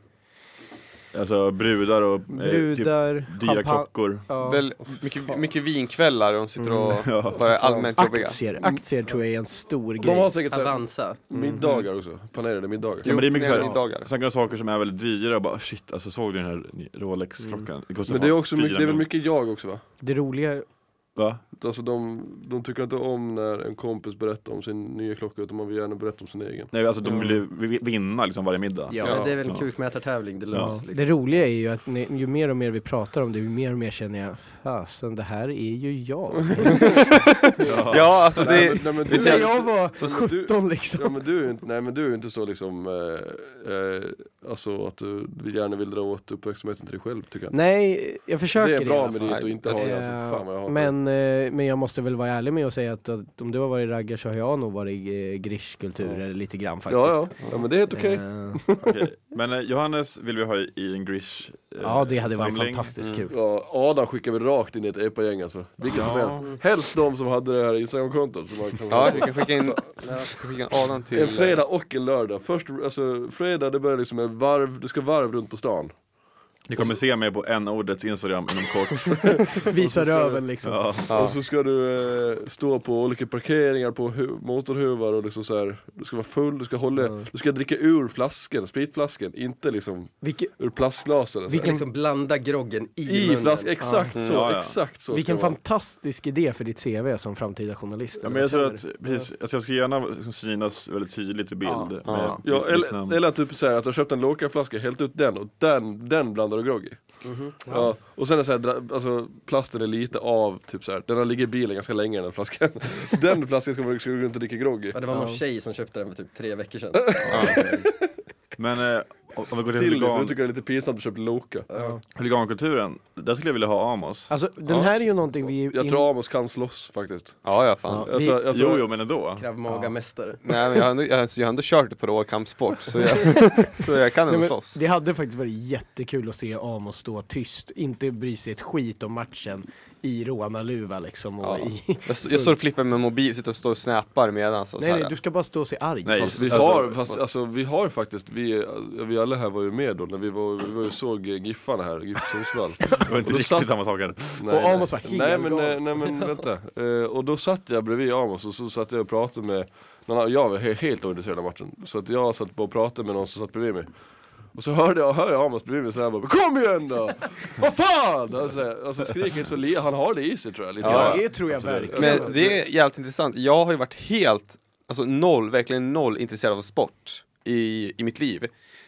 D: alltså brudar och eh,
F: Brudar,
D: typ, dyra
F: champagne-
D: klockor.
F: Ja.
B: Väl, mycket, mycket vinkvällar och de sitter och
D: Ja.
B: bara är allmänt jobbiga.
F: Aktier, aktier tror jag är en stor
C: Mm. De
F: grej.
C: har säkert såhär,
E: Avanza.
C: middagar också, planerade middagar.
D: Ja, men det är mycket
B: Jo,
D: så här-
B: middagar.
D: Sen kan det vara saker som är väldigt dyra och bara shit, alltså såg du den här Rolex-klockan?
C: Mm.
D: kostar
C: Men det är
D: fan
C: också
D: fyra
C: mycket, det är väl
D: miljoner.
C: mycket jag också va?
F: Det roliga
D: Va?
C: Alltså de, de tycker inte om när en kompis berättar om sin nya klocka utan man vill gärna berätta om sin egen.
D: Nej, alltså de vill ju vi- vinna liksom varje middag.
F: Ja.
E: Men det är väl en
D: Ja.
E: kukmätartävling
D: Ja.
E: deluxe.
F: Det
E: Liksom.
F: roliga är ju att ni, ju mer och mer vi pratar om det, ju mer och mer känner jag, fasen det här är ju jag.
B: Ja, alltså
C: Nej,
B: det...
C: men- nej,
B: det
C: men du-
B: känns-
F: När jag var
C: Så du-
F: 17 liksom.
C: Ja men du är ju inte, nej men du är ju inte så liksom, eh, eh, alltså att du gärna vill dra åt uppmärksamheten till dig själv tycker jag.
F: Nej, jag försöker
C: det är
F: i
C: bra
F: alla
C: med
F: fall. Eh,
C: det och inte ha det, alltså, fan vad jag hatar det.
F: men, eh, men jag måste väl vara ärlig med att säga att, att om du har varit raggare så har jag nog varit eh, grishkulturer lite grann faktiskt.
C: Ja, ja. ja men det är helt okej.
F: Eh,
D: Okej. Men eh, Johannes vill vi ha i- i en Grish eh,
F: ja, det hade varit
D: samling.
F: fantastiskt kul.
C: Ja, Adam skickar vi rakt in i ett epa-gäng alltså. Vilket som
D: Ja.
C: helst. Helst de som hade det här instagramkontot. som man kan-
B: Ja, vi kan skicka in, jag ska skicka in Adam till...
C: En fredag och en lördag. Först, alltså fredag det börjar liksom en varv, du ska varv runt på stan.
D: Ni kommer se mig på en ordets Instagram inom kort.
F: Visa röven liksom.
D: Ja.
B: Ja.
C: Och så ska du eh, stå på olika parkeringar på hu- motorhuvar och liksom så här, du ska vara full, du ska hålla, du ska dricka ur flaskan, spritflaskan, inte liksom
F: Vilke,
C: ur plastglasen.
E: Vi kan liksom blanda groggen i,
C: I
E: munnen.
C: flaskan, exakt så,
D: Ja, ja.
C: exakt så.
F: vilken
C: ska det vara.
F: fantastisk idé för ditt CV som framtida journalist.
D: Ja, men jag tror att, precis, alltså jag ska gärna liksom synas väldigt tydligt i bild.
F: Ja.
D: med
B: Ja.
D: mitt
C: Ja,
D: namn.
C: eller, eller typ såhär att du har köpt en Loka-flaska, hällt ut den och den, den blandar du grogg i. Ja. Och sen är det såhär, dra- alltså plasten är lite av, typ såhär, den har ligger i bilen ganska länge den här flaskan. den flaskan ska man ska man gå runt och dricka grogg i.
E: Ja, det var någon
F: Ja.
E: tjej som köpte den för typ tre veckor sedan.
D: Men eh, om om vi går till
C: Till nu
D: huligan,
C: tycker jag det är lite pinsamt att köpa Loka.
D: huligankulturen, där skulle jag vilja ha Amos.
F: Alltså den
C: Ja.
F: här är ju någonting vi...
C: Jag tror Amos kan slåss faktiskt.
B: Ja, ja fan.
C: Jag
F: Vi-
C: tror, jag tror,
D: Jo, jo, men ändå.
E: Kravmaga-mästare.
B: Nej men jag har ändå, jag, alltså, jag har ändå kört det på råkampsport så jag, så jag kan
F: Nej,
B: ändå
F: men
B: slåss.
F: det hade faktiskt varit jättekul att se Amos stå tyst, inte bry sig ett skit om matchen i rånarluva liksom. Och
B: Ja.
F: i...
B: Jag, stå- jag står och flippar med mobil, sitter och står och snappar medan. Så,
F: Nej,
B: så här.
F: nej, du ska bara stå och se arg.
D: Nej,
F: Fast-
C: Vi
D: Alltså,
C: har, fast, alltså, vi har faktiskt, vi, vi alla här var ju med då när vi var, vi var ju såg eh, Giffarna här, GIF Sundsvall.
D: Det var inte
C: Då
D: riktigt
C: satt-
D: samma sak. här.
C: Nej,
F: Och Amos var
C: nej.
F: helt
C: nej, men,
F: galen.
C: eh, nej men vänta. Eh, och då satt jag bredvid Amos och så satt jag och pratade med någon annan. Jag var he- helt ointresserad av matchen. Så att jag satt och pratade med någon som satt bredvid mig. Och så hörde jag, hör jag Amos bredvid mig så här bara Kom igen då! Vad fan! Alltså, alltså skriket så li- han har det i sig tror jag lite
F: Ja,
C: grann.
F: det tror jag verkligen.
B: Men det är jävligt intressant. Jag har ju varit helt, alltså noll, verkligen noll intresserad av sport i, i mitt liv.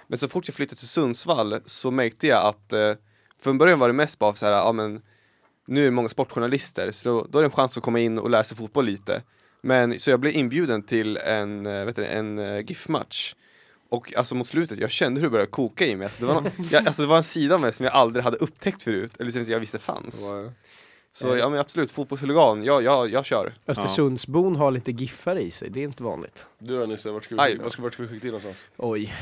B: Men så fort jag flyttade till Sundsvall så märkte jag att, eh, från början var det mest bara så här, ja men nu är det många sportjournalister, så då, då är det en chans att komma in och lära sig fotboll lite. Men så jag blev inbjuden till en, eh, vet du, det, en eh, GIF-match. Och alltså mot slutet, jag kände hur det började koka i mig. Alltså, det, var nå- jag, alltså, det var en sida av mig som jag aldrig hade upptäckt förut, eller som jag visste fanns. Så ja men absolut, fotbollshuligan, ja, ja, jag kör.
F: Östersundsbon har lite giffar i sig, det är inte vanligt.
C: Du då Nisse, vart ska
B: Aj
C: vi,
B: då.
C: vart ska, vart ska vi skicka in någonstans?
F: Oj.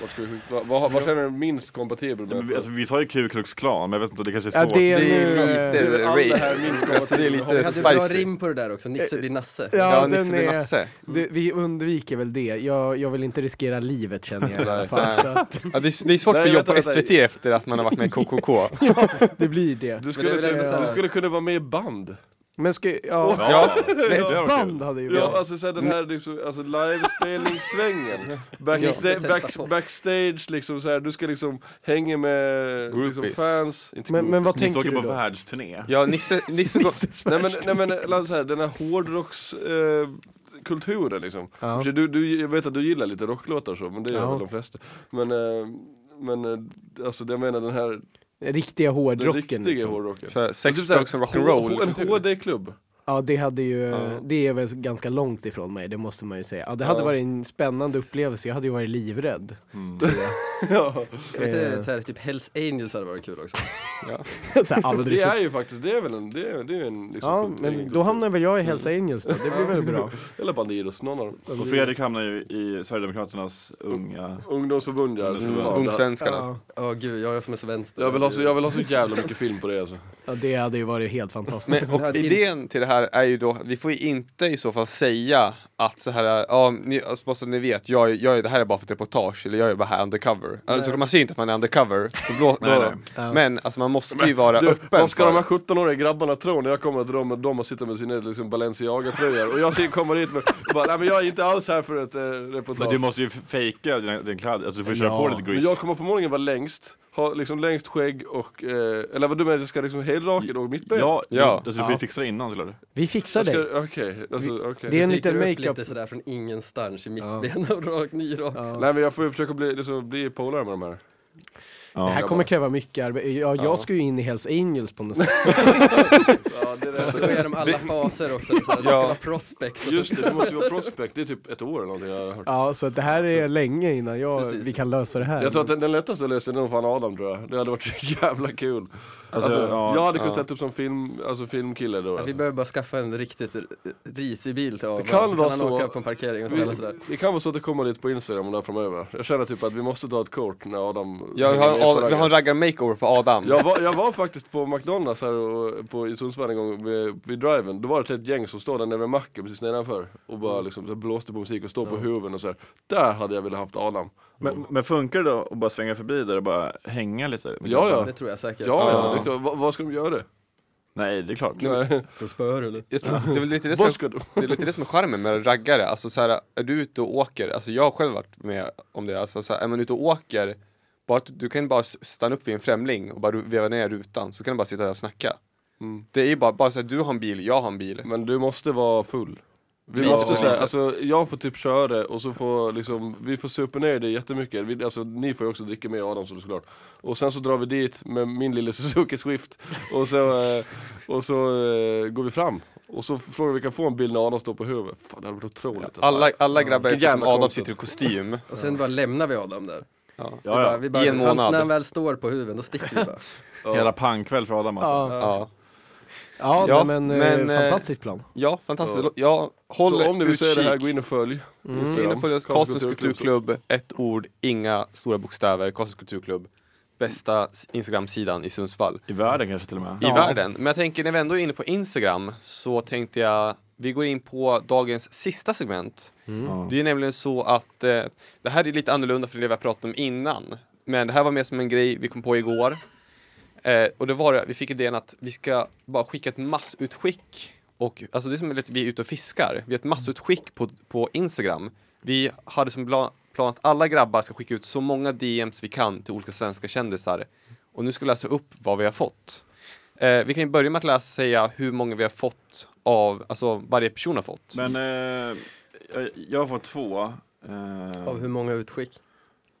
C: Vart ska vi skicka, vad, vad, vad känner du är minst kompatibel
D: Ja, men vi-
C: med?
D: Alltså, vi tar ju Ku Klux Klan, men jag vet inte, det kanske är
F: Ja,
D: svårt.
F: det är
B: Det är
F: nu... eh,
B: lite
C: alla här minns
B: rave, alltså det är
E: Vi
B: lite
E: hade bra
B: spicy.
E: rim på det där också, Nisse blir Nasse.
B: Ja,
F: Ja,
B: Nisse
F: den
B: blir
F: är,
B: Nasse.
F: det, vi undviker väl det. Jag, jag vill inte riskera livet känner jag i alla fall.
B: Nej.
F: Så att
B: Ja, det, är, det är svårt
C: Nej,
B: för jobb
C: vänta,
B: på
C: vänta.
B: SVT efter att man har varit med i KKK.
F: det blir det.
C: Du skulle,
E: väl ändå så
C: kunna,
E: här-
C: du skulle kunna vara med i band.
F: Men ska, ja,
D: Ja,
F: men
D: det var
F: ett
D: kul.
F: band hade ju
C: Ja,
F: varit.
C: alltså såhär den här liksom, alltså livespelningssvängen.
E: Ja.
C: Backsta- back,
E: Testa på.
C: backstage liksom såhär, du ska liksom hänga med liksom,
B: Groupies.
C: fans. Inte
F: Men, men vad
D: Ni
F: tänker
D: åker
F: du
D: på
F: då?
D: världsturné.
B: Ja, Nisse, Nisse går...
C: nej men, nej, men eller så här, den här hårdrockskulturen eh, kulturen, liksom.
F: Ja.
C: För Du, du, jag vet att du gillar lite rocklåtar så, men det gör
F: Ja.
C: väl de flesta. Men, eh, men eh, alltså jag menar den här
F: Riktiga
C: den
F: hårdrocken
C: riktiga
F: liksom.
C: hårdrocken.
B: Så här, sex,
C: Typ så här,
B: drugs and
C: H- En
B: rock'n'roll.
C: HD-klubb.
F: Ja, det hade ju,
C: Ja.
F: det är väl ganska långt ifrån mig, det måste man ju säga. Ja, det hade
C: Ja.
F: varit en spännande upplevelse, jag hade ju varit livrädd.
C: Ja.
E: Jag vet inte, så här, typ Hells Angels hade varit kul också.
F: så här, aldrig
C: Det
F: så
C: är ju faktiskt, det är väl en, det är, det är ju en liksom,
F: Ja,
C: kult- egen
F: men då
C: kultur.
F: hamnar väl jag i Hells Angels då, det blir väl bra.
C: Eller Bandidos, någon av dem.
D: Och Fredrik hamnar ju i Sverigedemokraternas unga...
C: Ungdomsförbund ja.
D: Ungdomsförbund.
C: Fan, det-
B: Ungsvenskarna.
E: Ja, gud, jag är som är så vänster.
C: Jag vill, ha så, alltså, jag vill ha så jävla mycket film på det alltså.
F: Ja, det hade ju varit helt fantastiskt.
B: Men, och idén till det här är ju då, vi får ju inte i så fall säga att så här, ja, ni, alltså, bara så ni vet, jag, är- jag, är- det här är bara för ett reportage, eller jag är bara här undercover. Alltså, man ser inte att man är undercover, då blå,
D: Nej,
B: då,
D: nej.
B: Men alltså, man måste ju vara
C: Du,
B: öppen
C: vad ska de
B: för
C: här 17-åriga grabbarna tro när jag kommer att de, de och sitter med sina liksom, Balenciaga-tröjor och jag ser- kommer dit med, och bara, nej men jag är inte alls här för ett eh, reportage.
D: Men du måste ju fejka din, din kläder, alltså du får ju köra
F: Ja.
D: på lite
C: Men
D: grease.
C: jag kommer förmodligen vara längst, ha liksom längst skägg och, eh, eller vad du menar, jag ska liksom helrakad och mittben?
D: Ja,
B: Ja.
D: ja. Alltså, du får
F: Ja.
D: ju fixa det innan såklart.
F: Vi
C: Jag
F: fixar
C: ska-
F: dig.
C: Okej, alltså okej.
F: Det är en
E: Dyker
F: liten
E: upp
F: makeup.
E: lite sådär från ingenstans i mittbena och rakt ny rak.
C: Nej men jag får ju försöka bli, liksom, bli polare med de här.
D: Ja.
F: Det här kommer kräva mycket arbete. Ja, jag ska ju in i Hells Angels på något sätt.
C: Ja, det
E: Och så går jag igenom alla faser också, sådär. du ska
B: Ja.
E: vara prospect och
C: Just det, du måste ju vara prospect, det är typ ett år eller någonting jag har hört.
F: Ja, så att det här är länge innan jag,
E: Precis.
F: vi kan lösa det här.
C: Jag tror att den, den lättaste lösningen är nog fan Adam tror jag. Det hade varit så jävla kul. Alltså,
D: Alltså, ja,
C: jag hade kunnat
B: ja.
C: ställa upp som film, alltså, filmkille då.
E: Ja, vi
C: alltså.
E: behöver bara skaffa en riktigt r- risig bil till Avan,
C: kan
E: så
C: vara
E: kan han
C: så-
E: åka på en parkering och ställa sig där.
C: Vi, det kan vara så att det kommer lite på Instagram och där framöver. Jag känner typ att vi måste ta ett kort när Adam
B: Ja, vi har, en ad- vi har en raggar makeover på Adam.
C: jag, var, jag var faktiskt på McDonalds här och, på, i Sundsvall en gång vid, vid driven. Då var det ett gäng som stod där nere vid macken precis nedanför och bara
B: Mm.
C: liksom, så här, blåste på musik och stod på huven och så här. Där hade jag velat haft Adam.
D: Men, men funkar det då att bara svänga förbi där och bara hänga lite? Liksom?
C: Ja, ja.
E: Det tror jag säkert.
C: Ja, ja,
B: Ja.
C: det är klart. Va, vad ska de göra?
D: Nej, det är klart.
C: Nej.
E: Ska du spöa eller?
B: Jag tror, det är väl lite det som
C: Vad
B: är
C: ska de?
B: Det är lite det som är charmen med raggare, alltså så här, är du ute och åker, alltså jag har själv varit med om det, alltså så här, är man ute och åker, bara, att du kan bara s- stanna upp vid en främling och bara ru- veva ner rutan, så kan du bara sitta där och snacka.
C: Mm.
B: Det är ju bara, bara så här, du har en bil, jag har en bil.
C: Men du måste vara full. Vi
B: Ja,
C: måste säga,
B: exakt.
C: alltså jag får typ köra det och så får liksom, vi får supa ner det jättemycket. Vi, alltså ni får ju också dricka med Adam så såklart. Och sen så drar vi dit med min lilla Suzuki Swift och så, eh, och så eh, går vi fram. Och så frågar vi om vi kan få en bild när Adam står på huvudet. Fan det hade varit otroligt. alltså.
B: Alla, alla grabbar
C: Vilken
B: förutom
C: jävla
B: Adam
C: konstigt.
B: sitter i kostym.
E: Och sen bara lämnar vi Adam där.
B: Ja.
E: vi
D: Ja,
E: bara,
D: ja.
E: vi bara,
B: I en
E: Hans,
B: månad.
E: när han väl står på huven, då sticker vi bara.
D: Hela pangkväll för Adam alltså.
F: Ja,
B: Ja.
F: ja,
B: Ja,
F: nej, men,
B: men,
F: eh,
B: eh,
F: fantastiskt plan.
B: ja, fantastiskt. Ja, håll
C: så om ni vill se
B: utkik. Mm.
C: det här, gå in och följ. Mm.
B: Gå in och följ oss, Karlssons
C: Kulturklubb.
B: kulturklubb, ett ord, inga stora bokstäver, Karlssons kulturklubb. Bästa s- Instagram-sidan i Sundsvall.
D: I världen kanske till och med.
B: i världen. Men jag tänker när vi ändå är inne på Instagram så tänkte jag vi går in på dagens sista segment.
D: Ja.
B: Det är nämligen så att eh, det här är lite annorlunda för det vi har pratat om innan. Men det här var mer som en grej vi kom på igår. Eh, och det var det, vi fick idén att vi ska bara skicka ett massutskick. Och, alltså det är som att vi är ute och fiskar. Vi har ett massutskick på, på Instagram. Vi hade som plan, plan att alla grabbar ska skicka ut så många DMs vi kan till olika svenska kändisar. Och nu ska vi läsa upp vad vi har fått. Eh, vi kan ju börja med att läsa säga hur många vi har fått av, alltså varje person har fått.
D: Men eh, jag, jag har fått två. Eh,
E: Av hur många utskick?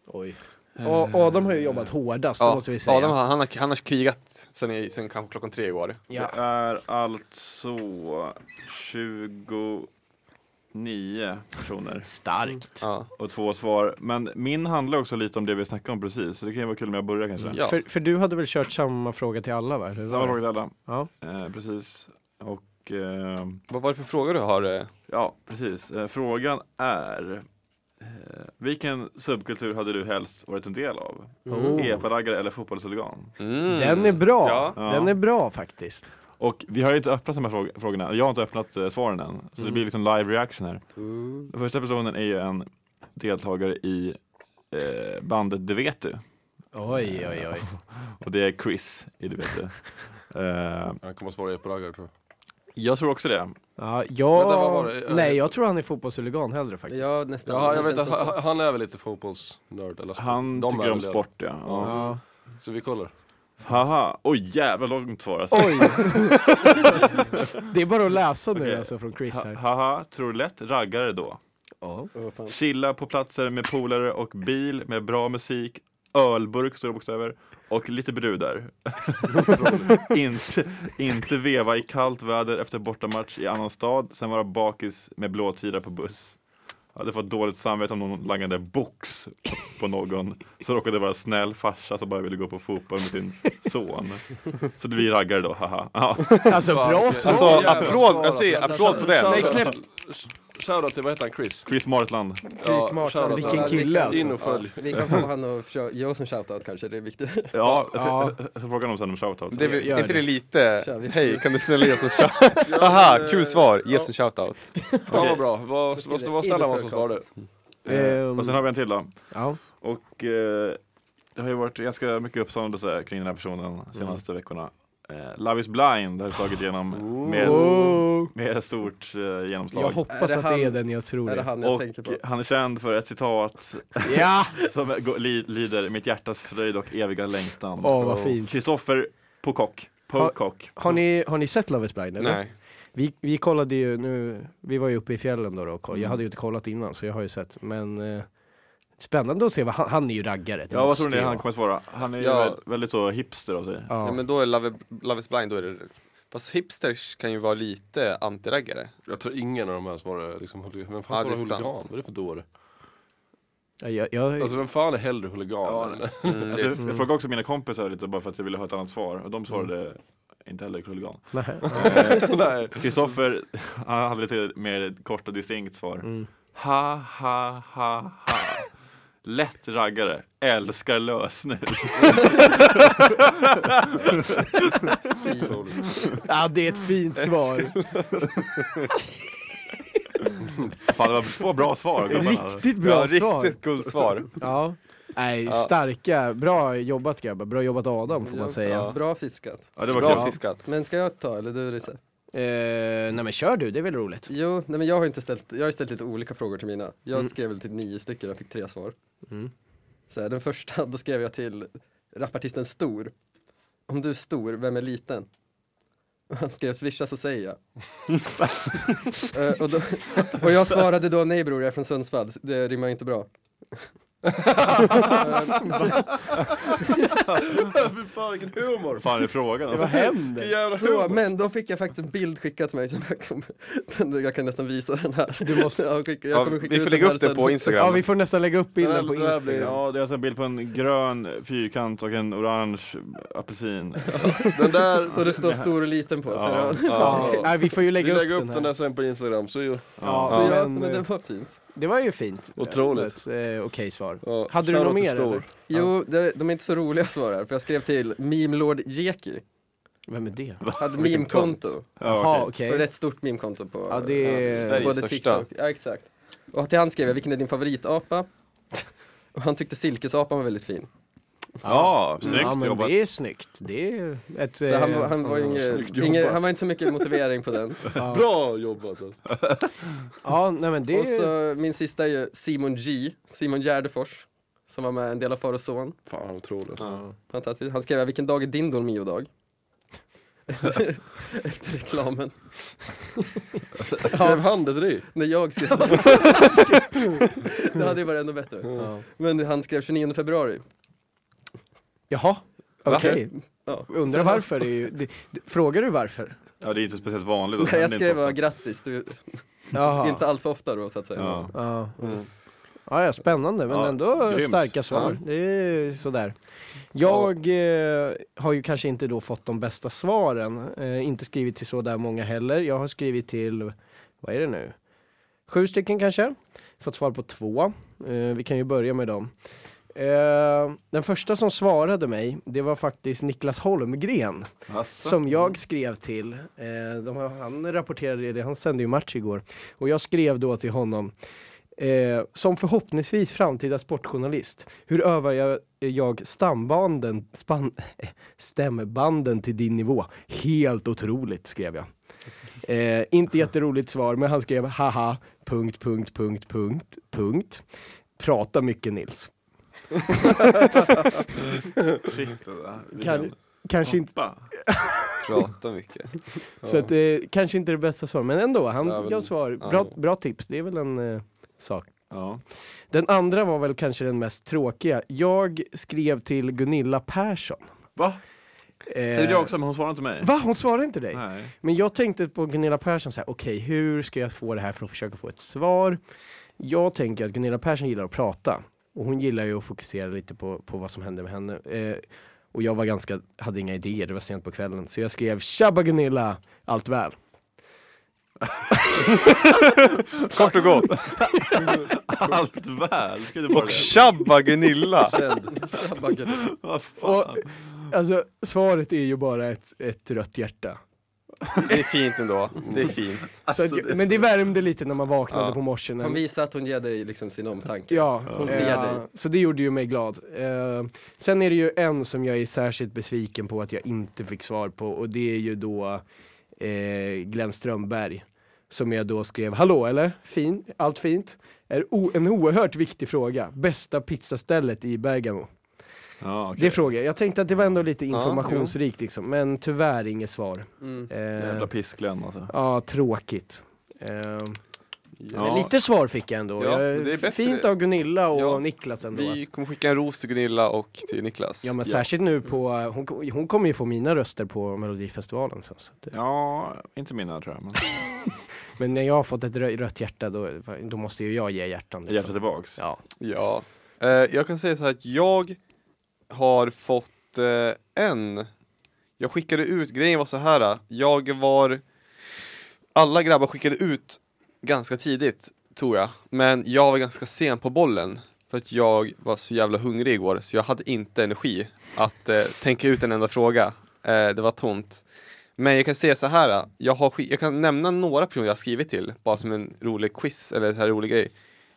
F: Oj. Och Adam har ju jobbat hårdast, det måste vi säga.
B: Adam, han, han, har, han har krigat sen, i, sen kanske klockan tre igår.
F: ja.
D: Det är alltså 29 personer
F: Starkt.
B: Ja.
D: och två svar. Men min handlar också lite om det vi snackade om precis, så det kan ju vara kul om jag börjar kanske.
B: Ja.
F: För, för du hade väl kört samma fråga till alla va? Eller
D: Samma
F: var det?
D: fråga till alla.
F: Ja.
D: Eh, precis. Och eh,
B: Vad var det för frågor du har? eh?
D: ja, precis. Eh, frågan är eh, vilken subkultur hade du helst varit en del av?
C: Oh.
D: Epa-raggare eller fotbollshuligan?
B: Mm.
F: Den är bra,
B: Ja.
F: den är bra faktiskt.
D: Och vi har ju inte öppnat de här fråg- frågorna, jag har inte öppnat eh, svaren än, så
C: Mm.
D: det blir liksom live reaction här. Den första personen är ju en deltagare i eh, bandet Det vet du,
F: Oj, oj, oj.
D: och det är Chris i Det vet du. Eh,
C: Han kommer att svara på raggare tror jag.
D: jag tror också det.
F: Ja, jag...
C: Vänta, vad var det?
F: Nej, jag tror han är fotbollshuligan hellre faktiskt.
E: Ja, nästan.
C: Ja, jag
E: Det
C: vet
E: känns
C: att
E: som så.
C: han- han är väl lite fotbollsnörd eller sport.
D: Han
C: De är
D: tycker
C: väl
D: om
C: det.
D: sport ja. ja.
F: Ja.
C: Så vi kollar.
D: Haha, oj jävlar långt svar alltså.
F: Oj! det är bara att läsa nu
D: Okej.
F: alltså från Chris
D: Ha-
F: här.
D: Haha, tror lätt raggare då. Chilla på platser med polare och bil med bra musik, ölburk stora bokstäver och lite brudar. inte, inte veva i kallt väder efter bortamatch i annan stad, sen vara bakis med blåtira på buss. Jag hade fått dåligt samvete om någon langade box på någon, så råkade det vara snäll farsa som bara ville gå på fotboll med sin son. Så det blir raggare då, haha. Ja.
F: Alltså bra svar!
B: Alltså
C: Jävlar,
B: applåd,
C: svar,
B: jag säger
C: alltså.
B: applåd på den!
F: Nej, knäpp.
C: Shoutout till, vad heter han, Chris?
D: Chris Martland.
C: Ja,
B: Martin,
C: shoutout
F: vilken
C: till honom.
F: kille alltså.
C: In och följ.
E: Vi kan få han att försöka ge oss en shoutout kanske, det är viktigt.
D: Ja, jag ska,
F: Ja.
D: jag ska fråga honom sen om shoutout.
B: Det är väl-
F: Gör
B: är inte
F: det.
B: det lite,
E: Kör vi.
B: hej kan du snälla ge oss en shoutout? Aha,
C: eh,
B: kul svar, ge oss
C: ja.
B: en shoutout.
C: Ja, vad bra. Vad, vad, vad snälla var som svarade.
D: Eh, och sen har vi en till då.
F: Ja.
D: Och eh, det har ju varit ganska mycket uppståndelse kring den här personen de senaste veckorna. Eh, Love is blind har slagit igenom med, med stort eh, genomslag.
F: Jag hoppas
E: Är det
F: att det är
E: han-
F: den jag tror
E: Är det han jag
D: och
E: tänker på?
D: han är känd för ett citat
F: Ja!
D: som går- li, lyder Mitt hjärtas fröjd och eviga längtan.
F: Åh, vad fint.
D: Kristoffer Pocock. Pocock.
F: Har ni, har ni sett Love is blind? Eller?
B: Nej.
F: Vi, vi kollade ju nu, vi var ju uppe i fjällen då, då och koll- jag hade ju inte kollat innan så jag har ju sett, men eh, spännande att se, vad, han, han är ju raggare. det
D: Ja, vad
F: måste
D: tror ni
F: ju
D: han
F: vara.
D: kommer svara? Han är ju
B: Ja.
D: vä- väldigt så hipster av sig.
B: Ja.
F: Ja.
B: men då är Love, Love is blind, då är det Fast hipsters kan ju vara lite antiraggare.
C: Jag tror ingen av de här svarade liksom huligan. Vem fan
B: Ja, det
C: svarar
B: är sant.
C: huligan? Vad är det för dåre?
F: Ja, jag, jag,
C: Alltså vem fan är hellre huligan?
D: Ja,
C: eller?
B: Mm, det
D: Alltså,
B: är,
D: jag frågade också mina kompisar lite bara för att jag ville ha ett annat svar och de svarade inte heller huligan.
F: nej.
D: Eh, Kristoffer, han hade lite mer kort och distinkt svar. Ha, ha, ha, ha. Lätt raggare, älskar lösnus.
F: ja, det är ett fint svar.
D: Fan, det var två bra svar. gubbarna.
F: Riktigt bra
B: ja,
F: svar.
B: riktigt guldsvar.
F: Ja. Nej, starka, bra jobbat grabbar, bra jobbat Adam får man säga.
E: Ja, Bra fiskat.
D: Ja, det var
B: Bra
D: kul.
B: fiskat.
E: Men ska jag ta, eller du Lisa?
F: Eh, nej men kör du, det är väl roligt?
E: Jo, nej men jag har inte ställt, jag har ställt lite olika frågor till mina. Jag skrev väl till nio stycken, jag fick tre svar.
F: Mm.
E: Så här, den första, då skrev jag till rapartisten Stor. Om du är stor, vem är liten? Och han skrev swisha så säger jag. Eh, och, då, och jag svarade då nej bror, jag är från Sundsvall, det rimmar inte bra.
C: Fy fan vilken humor!
D: Fan är frågan?
F: Vad händer?
C: Jävla
E: Så,
C: humor!
E: men då fick jag faktiskt en bild skickad till mig som jag kommer, den- jag kan nästan visa den här.
F: Du måste-
E: jag skicka, jag
B: Ja,
E: kommer skicka
B: vi
E: ut
B: får
E: den
B: lägga
E: här
B: upp det
E: sen.
B: på
F: Ja
B: Instagram.
F: vi får nästan lägga upp bilden
C: Den
F: på
C: här- den här
F: Instagram.
C: blir-
D: Ja, det är alltså en bild på en grön fyrkant och en orange apelsin.
C: Den där,
E: Så det står stor och liten på. Så
D: Ja.
E: det var-
F: Ja. Nej vi får ju
C: vi
F: lägga
C: lägger
F: upp
C: upp den där sen på Instagram. Så ju,
F: Ja,
E: Så ja,
F: men,
E: men det
F: eh,
E: var fint.
F: det var ju fint.
C: Otroligt.
F: Eh, Okej svar.
C: ja,
F: Hade du
C: shoutout
F: något
C: till
F: mer
C: Stor.
F: eller?
E: Jo, det, de är inte så roliga svar här, för jag skrev till Memelord Jeki.
F: Vem är det?
E: Hade meme-konto.
F: Jaha
D: Ja, okej.
E: Det
F: okej.
E: var Rätt stort meme-konto på eh,
F: Ja det är...
B: Sverige.
E: både
B: största.
E: TikTok. Ja, exakt. Och till han skrev jag, vilken är din favoritapa? Och han tyckte silkesapan var väldigt fin.
D: Ja, snyggt
F: Ja men
D: jobbat.
F: det är snyggt. Det är ett... eh,
E: Så han, var- han, var ju
C: snyggt
E: inget,
C: jobbat.
E: inget, han var inte så mycket motivering på den.
F: ja.
C: Bra jobbat! alltså.
F: ja nej men det
E: Och
F: är...
E: så min sista är ju Simon G, Simon Gärdefors, som var med en del av Far och Son.
C: Fan otroligt. alltså.
E: Fantastiskt. Han skrev, vilken dag är din Dolmio-dag? Efter reklamen.
C: Skrev han det till dig?
E: När jag skrev Det hade ju varit ännu bättre.
F: Ja.
E: Men han skrev 29 februari.
F: Jaha, okej.
E: Ja.
F: Undrar varför. Det är ju... det... det- Frågar du varför?
D: Ja, det är inte speciellt vanligt. och
E: Nej, jag
D: händer inte
E: skrev bara
D: ofta.
E: grattis, du,
F: Jaha.
E: inte allt för ofta då så att säga.
D: Ja.
F: Ja. Ja, ja, spännande men
D: Ja,
F: ändå
D: grymt.
F: starka svar. Det är sådär. Jag eh, har ju kanske inte då fått de bästa svaren. Eh, inte skrivit till så där många heller. Jag har skrivit till, vad är det nu? Sju stycken kanske. Fått svar på två. Eh, vi kan ju börja med dem. Eh, den första som svarade mig, det var faktiskt Niklas Holmgren.
D: Asså.
F: Som jag skrev till, eh, de, har- han rapporterade det, han sände ju match igår. Och jag skrev då till honom, eh, som förhoppningsvis framtida sportjournalist, hur övar jag, eh, jag stambanden, span, eh, stämbanden till din nivå? Helt otroligt, skrev jag. Eh, inte jätteroligt svar, men han skrev haha, punkt, punkt, punkt, punkt, punkt. Prata mycket Nils.
D: Shit, det där.
F: Kan, kanske inte
D: Pappa.
B: Prata mycket.
F: Så att, eh, kanske inte det bästa svaret, men ändå. Han
B: Ja, men-
F: gav svar.
B: ja.
F: Bra, bra tips, det är väl en eh, sak.
D: Ja.
F: Den andra var väl kanske den mest tråkiga. Jag skrev till Gunilla Persson.
D: Va?
F: Eh,
D: Det gjorde jag också, men hon svarade inte mig.
F: Va? Hon svarade inte dig?
D: Nej.
F: Men jag tänkte på Gunilla Persson, så här, okej hur ska jag få det här för att försöka få ett svar? Jag tänker att Gunilla Persson gillar att prata och hon gillar ju att fokusera lite på, på vad som hände med henne. Eh, och jag var ganska, hade inga idéer, det var sent på kvällen, så jag skrev “Tjabba Gunilla, allt väl?”
B: Kort och gott.
D: Allt väl? Ska du bara
B: Och
D: det?
B: Shabba Gunilla.
D: Vad fan?
F: Alltså svaret är ju bara ett, ett rött hjärta.
B: Det är fint ändå. Det är fint.
F: Så att, men det värmde lite när man vaknade
B: Ja.
F: på morgonen.
E: Hon visar att hon ger dig liksom sin omtanke.
F: Ja,
E: Hon
F: eh,
E: ser dig.
F: Så det gjorde ju mig glad. Eh, sen är det ju en som jag är särskilt besviken på att jag inte fick svar på och det är ju då eh, Glenn Strömberg. Som jag då skrev, hallå eller? Fin, allt fint? Är o- en oerhört viktig fråga. Bästa pizzastället i Bergamo?
D: Ja, okej.
F: Det frågar jag. Jag tänkte att det var ändå lite
B: Ja,
F: informationsrikt liksom, men tyvärr inget svar.
E: Mm.
F: Eh,
D: Jävla pisklön alltså.
F: Ja, tråkigt. Eh, Men
D: Ja.
F: lite svar fick jag ändå.
B: Ja,
F: jag,
B: men det är bättre.
F: Fint av Gunilla och
B: Ja,
F: Niklas ändå. att-
B: Vi kommer skicka en ros till Gunilla och till Niklas.
F: Ja men särskilt
B: Mm.
F: nu på, eh, hon, hon kommer ju få mina röster på melodifestivalen sen. Så att, det-
D: Ja, inte mina tror jag, men
F: Men när jag har fått ett rö- rött hjärta då, då måste ju jag ge hjärtan. liksom.
D: hjärtat tillbaks.
F: Ja.
B: Ja. Eh, jag kan säga så här att jag har fått eh, en. Jag skickade ut, grejen var så här. eh, Jag var, alla grabbar skickade ut ganska tidigt, tror jag. Men jag var ganska sen på bollen. För att jag var så jävla hungrig igår, så jag hade inte energi att eh, tänka ut en enda fråga. Eh, det var tomt. Men jag kan säga så här, eh, jag, har, ski- jag kan nämna några personer jag har skrivit till, bara som en rolig quiz eller så här rolig grej.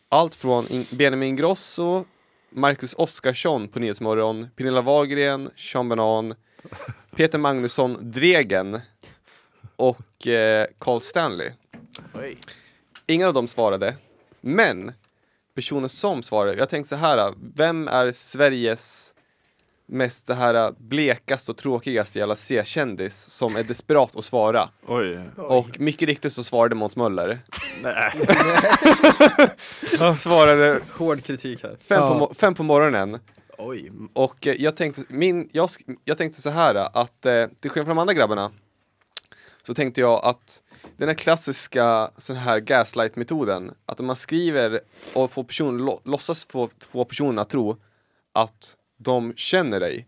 B: Allt från In- Benjamin Grosso, Marcus Oskarsson på Nyhetsmorgon, Pernilla Wahlgren, Sean Banan, Peter Magnusson, Dregen och eh, Carl Stanley.
F: Oj.
B: Ingen av dem svarade. Men personen som svarade, jag tänkte så här, vem är Sveriges mest så här eh, blekast och tråkigast jävla C-kändis som är desperat att svara?
D: Oj.
B: Och mycket riktigt så svarade Måns Möller. Han svarade
E: Hård kritik här.
B: fem, på,
F: Ja.
B: mo- fem på morgonen.
F: Oj.
B: Och eh, jag tänkte, min, jag, sk- jag tänkte så här eh, att eh, till skillnad från de andra grabbarna så tänkte jag att den här klassiska sån här gaslight-metoden, att om man skriver och får person, lo, låtsas få, få personerna att tro att de känner dig,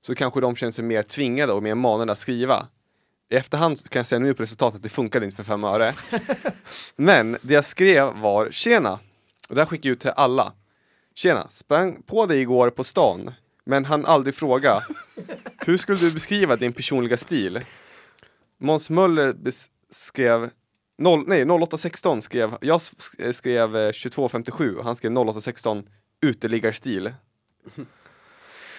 B: så kanske de känner sig mer tvingade och mer manade att skriva. I efterhand så kan jag säga nu på resultatet att det funkade inte för fem öre. Men det jag skrev var “Tjena!” och det här skickade jag ut till alla. Tjena, sprang på dig igår på stan, men han aldrig fråga. Hur skulle du beskriva din personliga stil? Måns Möller bes- skrev noll- nej, 0816 skrev, jag s- sk- skrev eh, 2257 och han skrev 0816 uteliggarstil.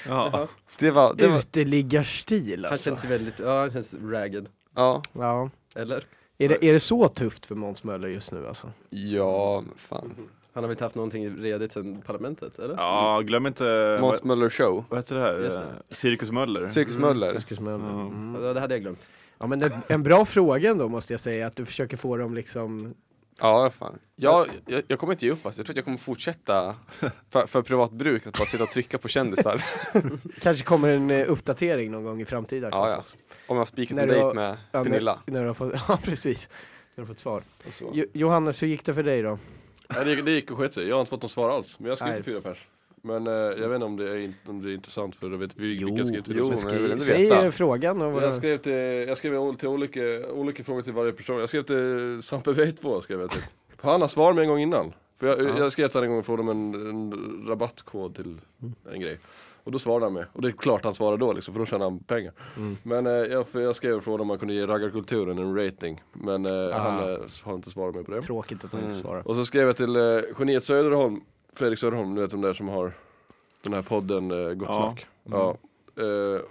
D: Ja.
B: Det var, det var,
F: Uteliggarstil
E: Han
F: alltså.
E: känns ju väldigt, ja han känns ragged.
B: ja,
F: Ja.
E: Eller?
F: Är, det, är det så tufft för Måns Möller just nu alltså?
B: ja, men fan.
E: Han har väl inte haft någonting redigt sedan parlamentet, eller?
D: ja, glöm inte,
B: Måns
D: vad,
B: Möller show.
D: vad heter det här?
E: Just
D: Eh, Cirkus Möller.
B: Cirkus Möller.
F: Marcus Möller.
D: Mm.
F: Mm.
E: Ja, det hade jag glömt.
F: Ja men en, en bra fråga ändå måste jag säga, att du försöker få dem liksom
B: Ja, fan. Jag, jag, jag kommer inte ge upp alltså. Jag tror att jag kommer fortsätta för, för privat bruk, att bara sitta och trycka på kändisar.
F: Kanske kommer en eh, uppdatering någon gång i framtiden
B: Ja, ja.
F: Kostas.
B: Om jag har spikat
F: När
B: en
F: du
B: dejt
F: har-
B: med
F: Ja,
B: Pernilla.
F: när, när du har fått, ja precis, när du har fått svar.
B: Och så.
F: Jo, Johannes, hur gick det för dig då?
C: Nej, det, gick- det gick och sket sig, jag har inte fått något svar alls. Men jag skrev
F: Nej.
C: till fyra pers. Men eh, jag vet inte om det är, in- om det är intressant för då vet vi vilka jag skrev till.
B: jo,
C: också.
B: men jag vill ändå
F: Säg
B: veta.
F: eh, frågan och
C: Jag
F: vad...
C: skrev, till, jag skrev ol- till olika, olika frågor till varje person. Jag skrev till Sampe Veitvo, skrev jag till. Han har svar med en gång innan. För jag, jag skrev till honom en gång och frågade om en, en rabattkod till en grej. Och då svarade han med. Och det är klart han svarade då liksom, för då tjänar han pengar. Men eh, jag, för jag skrev och frågade om man kunde ge raggarkulturen en rating. Men eh, han eh, har inte svarat mig på det.
F: Tråkigt att han
B: Mm.
F: inte svarar.
C: Och så skrev jag till eh, geniet Söderholm, Fredrik Söderholm, du vet de där som har den här podden eh, Gott
D: Ja. Mm.
C: Snack. Ja. Eh,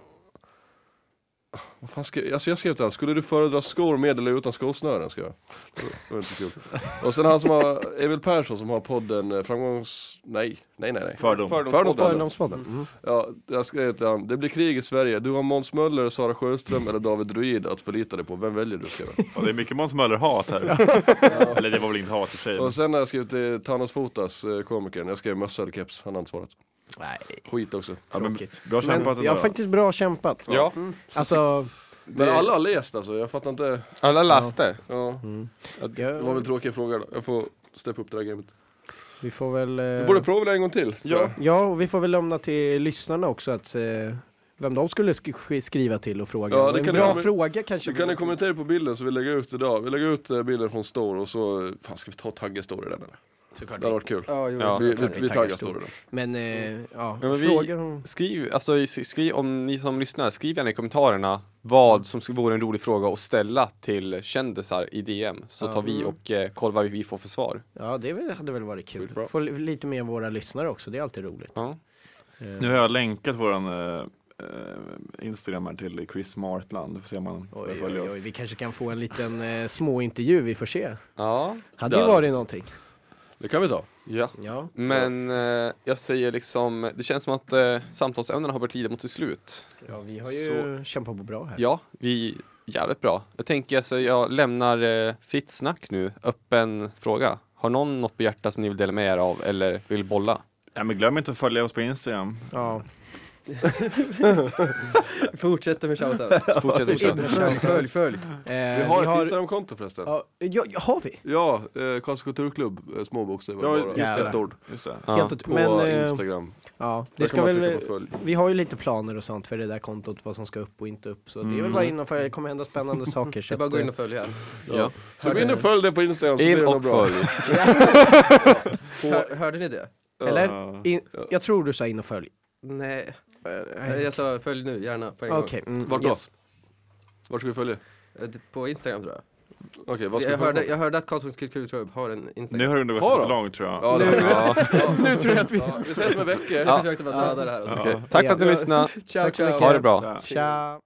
C: vad fan skrev, alltså jag skrev till honom, skulle du föredra skor med eller utan skosnören? Ska jag. Det var inte kul. Och sen han som har, Emil Persson som har podden eh, Framgångs... Nej, nej, nej. nej.
D: Fördom.
C: Fördomspodden.
F: Fördomspodden. Mm.
C: Ja, jag skrev till honom, det blir krig i Sverige, du har Måns Möller, Sara Sjöström eller David Druid att förlita dig på, vem väljer du? Skrev jag.
D: Ja, det är mycket Måns Möller-hat här. Eller det var väl inget hat i och för sig. men-
C: Och sen har jag skrivit till Thanos Fotas, eh, komikern, jag skrev mössa eller keps, han har inte svarat.
F: Nej,
C: Skit också.
D: Ja, men
F: tråkigt.
D: bra kämpat
F: Men,
D: ändå.
F: ja, faktiskt bra kämpat.
B: Ja,
F: Alltså,
C: Men alla har läst alltså, jag fattar inte.
B: alla läste.
C: Ja. Det var
F: jag,
C: väl tråkiga frågor då. Jag får steppa upp det där gamet.
F: vi får väl... eh,
C: Vi borde prova det en gång till. tror
B: Ja.
C: jag.
F: Ja, och vi får väl lämna till lyssnarna också att eh, Vem de skulle sk- skriva till och fråga.
C: Ja,
F: Och
C: det
F: en
C: kan
F: bra
C: jag-
F: fråga kanske.
C: Så kan ni
F: vore.
C: kommentera på bilden så vi lägger ut idag. Vi lägger ut eh, bilden från Store och så, fan ska vi ta tagga Store i den eller?
F: Såklart.
C: Det hade varit kul.
E: Ja, jo,
B: Ja,
C: Vi,
F: såklart
C: vi, vi taggar Store i den.
F: Men eh, ja,
B: Ja, men vi-
F: fråga om...
B: Skriv, alltså i- skriv, om ni som lyssnar, skriv gärna i kommentarerna vad som sk- vore en rolig fråga att ställa till kändisar i DM. Så
F: Ja.
B: tar vi och eh, kollar vad vi får för svar.
F: Ja, det väl- hade väl varit kul.
C: Skitbra.
F: Få li- lite mer våra lyssnare också, det är alltid roligt.
B: Ja.
F: Eh,
D: Nu har jag länkat våran eh, eh, Instagram här till Chris Martland. Du får se om han
F: Oj,
D: följer
F: oj,
D: oss.
F: oj, vi kanske kan få en liten eh, småintervju, vi får se.
B: Ja.
F: Hade ju
C: Där.
F: varit någonting.
C: Det kan vi ta.
B: ja.
F: Ja.
B: Men eh, jag säger liksom, det känns som att eh, samtalsämnena har börjat lida mot sitt slut.
F: ja, vi har ju kämpat på bra här.
B: Ja, vi jävligt bra. Jag tänker alltså, jag lämnar eh, fritt snack nu, öppen fråga. Har någon något på hjärtat som ni vill dela med er av eller vill bolla?
D: Ja, men glöm inte att följa oss på Instagram.
F: Ja.
E: Fortsätter med shoutout.
B: Fortsätt fortsätt.
E: Följ, följ, följ.
F: Eh,
C: Vi har ett Instagramkonto förresten.
F: ja, ja, ja, har vi?
C: Ja, eh, Karlstad Kulturklubb, eh, små bokstäver
D: Ja,
C: bara.
F: just det.
C: Ett ord.
D: Just det.
B: Ja.
F: Helt ot-
C: På
F: men, eh,
C: Instagram.
F: ja,
C: Där
F: det
C: kan
F: ska
C: man trycka
F: väl,
C: på följ.
F: vi har ju lite planer och sånt för det där kontot, vad som ska upp och inte upp. Så det är väl bara in och följa, det kommer hända spännande saker.
E: Det
F: Så
E: är bara
F: att,
E: att gå in
F: eh,
E: och följa.
B: Ja.
C: Så gå in och följ det på Instagram så blir
B: In
C: det nog
B: och
C: bra.
B: följ.
E: Hör, hörde ni det?
F: eh, Eller? In, jag tror du sa in och följ. Nej.
E: Eh, Jag sa följ nu, gärna på en gång.
F: Okej. Mm,
C: Vart då?
F: yes.
C: Vart ska vi följa?
E: Eh, det- På Instagram tror jag.
C: Okej, vad ska
E: Jag
C: vi
E: hörde,
C: följa?
E: jag hörde att Karlssons kulturklubb har en
D: Nu
E: Instagram.
D: har det
C: Har
D: gått
C: de?
D: för långt tror jag.
C: Ja, det
B: Ja.
E: Nu tror jag att vi...
C: Vi ses med Becke.
E: Jag försökte bara döda det här.
B: Okej. Tack för att ni lyssnade.
E: Ciao,
F: Tack så
E: ciao.
B: Ha det bra.
D: Ja.
F: Tja.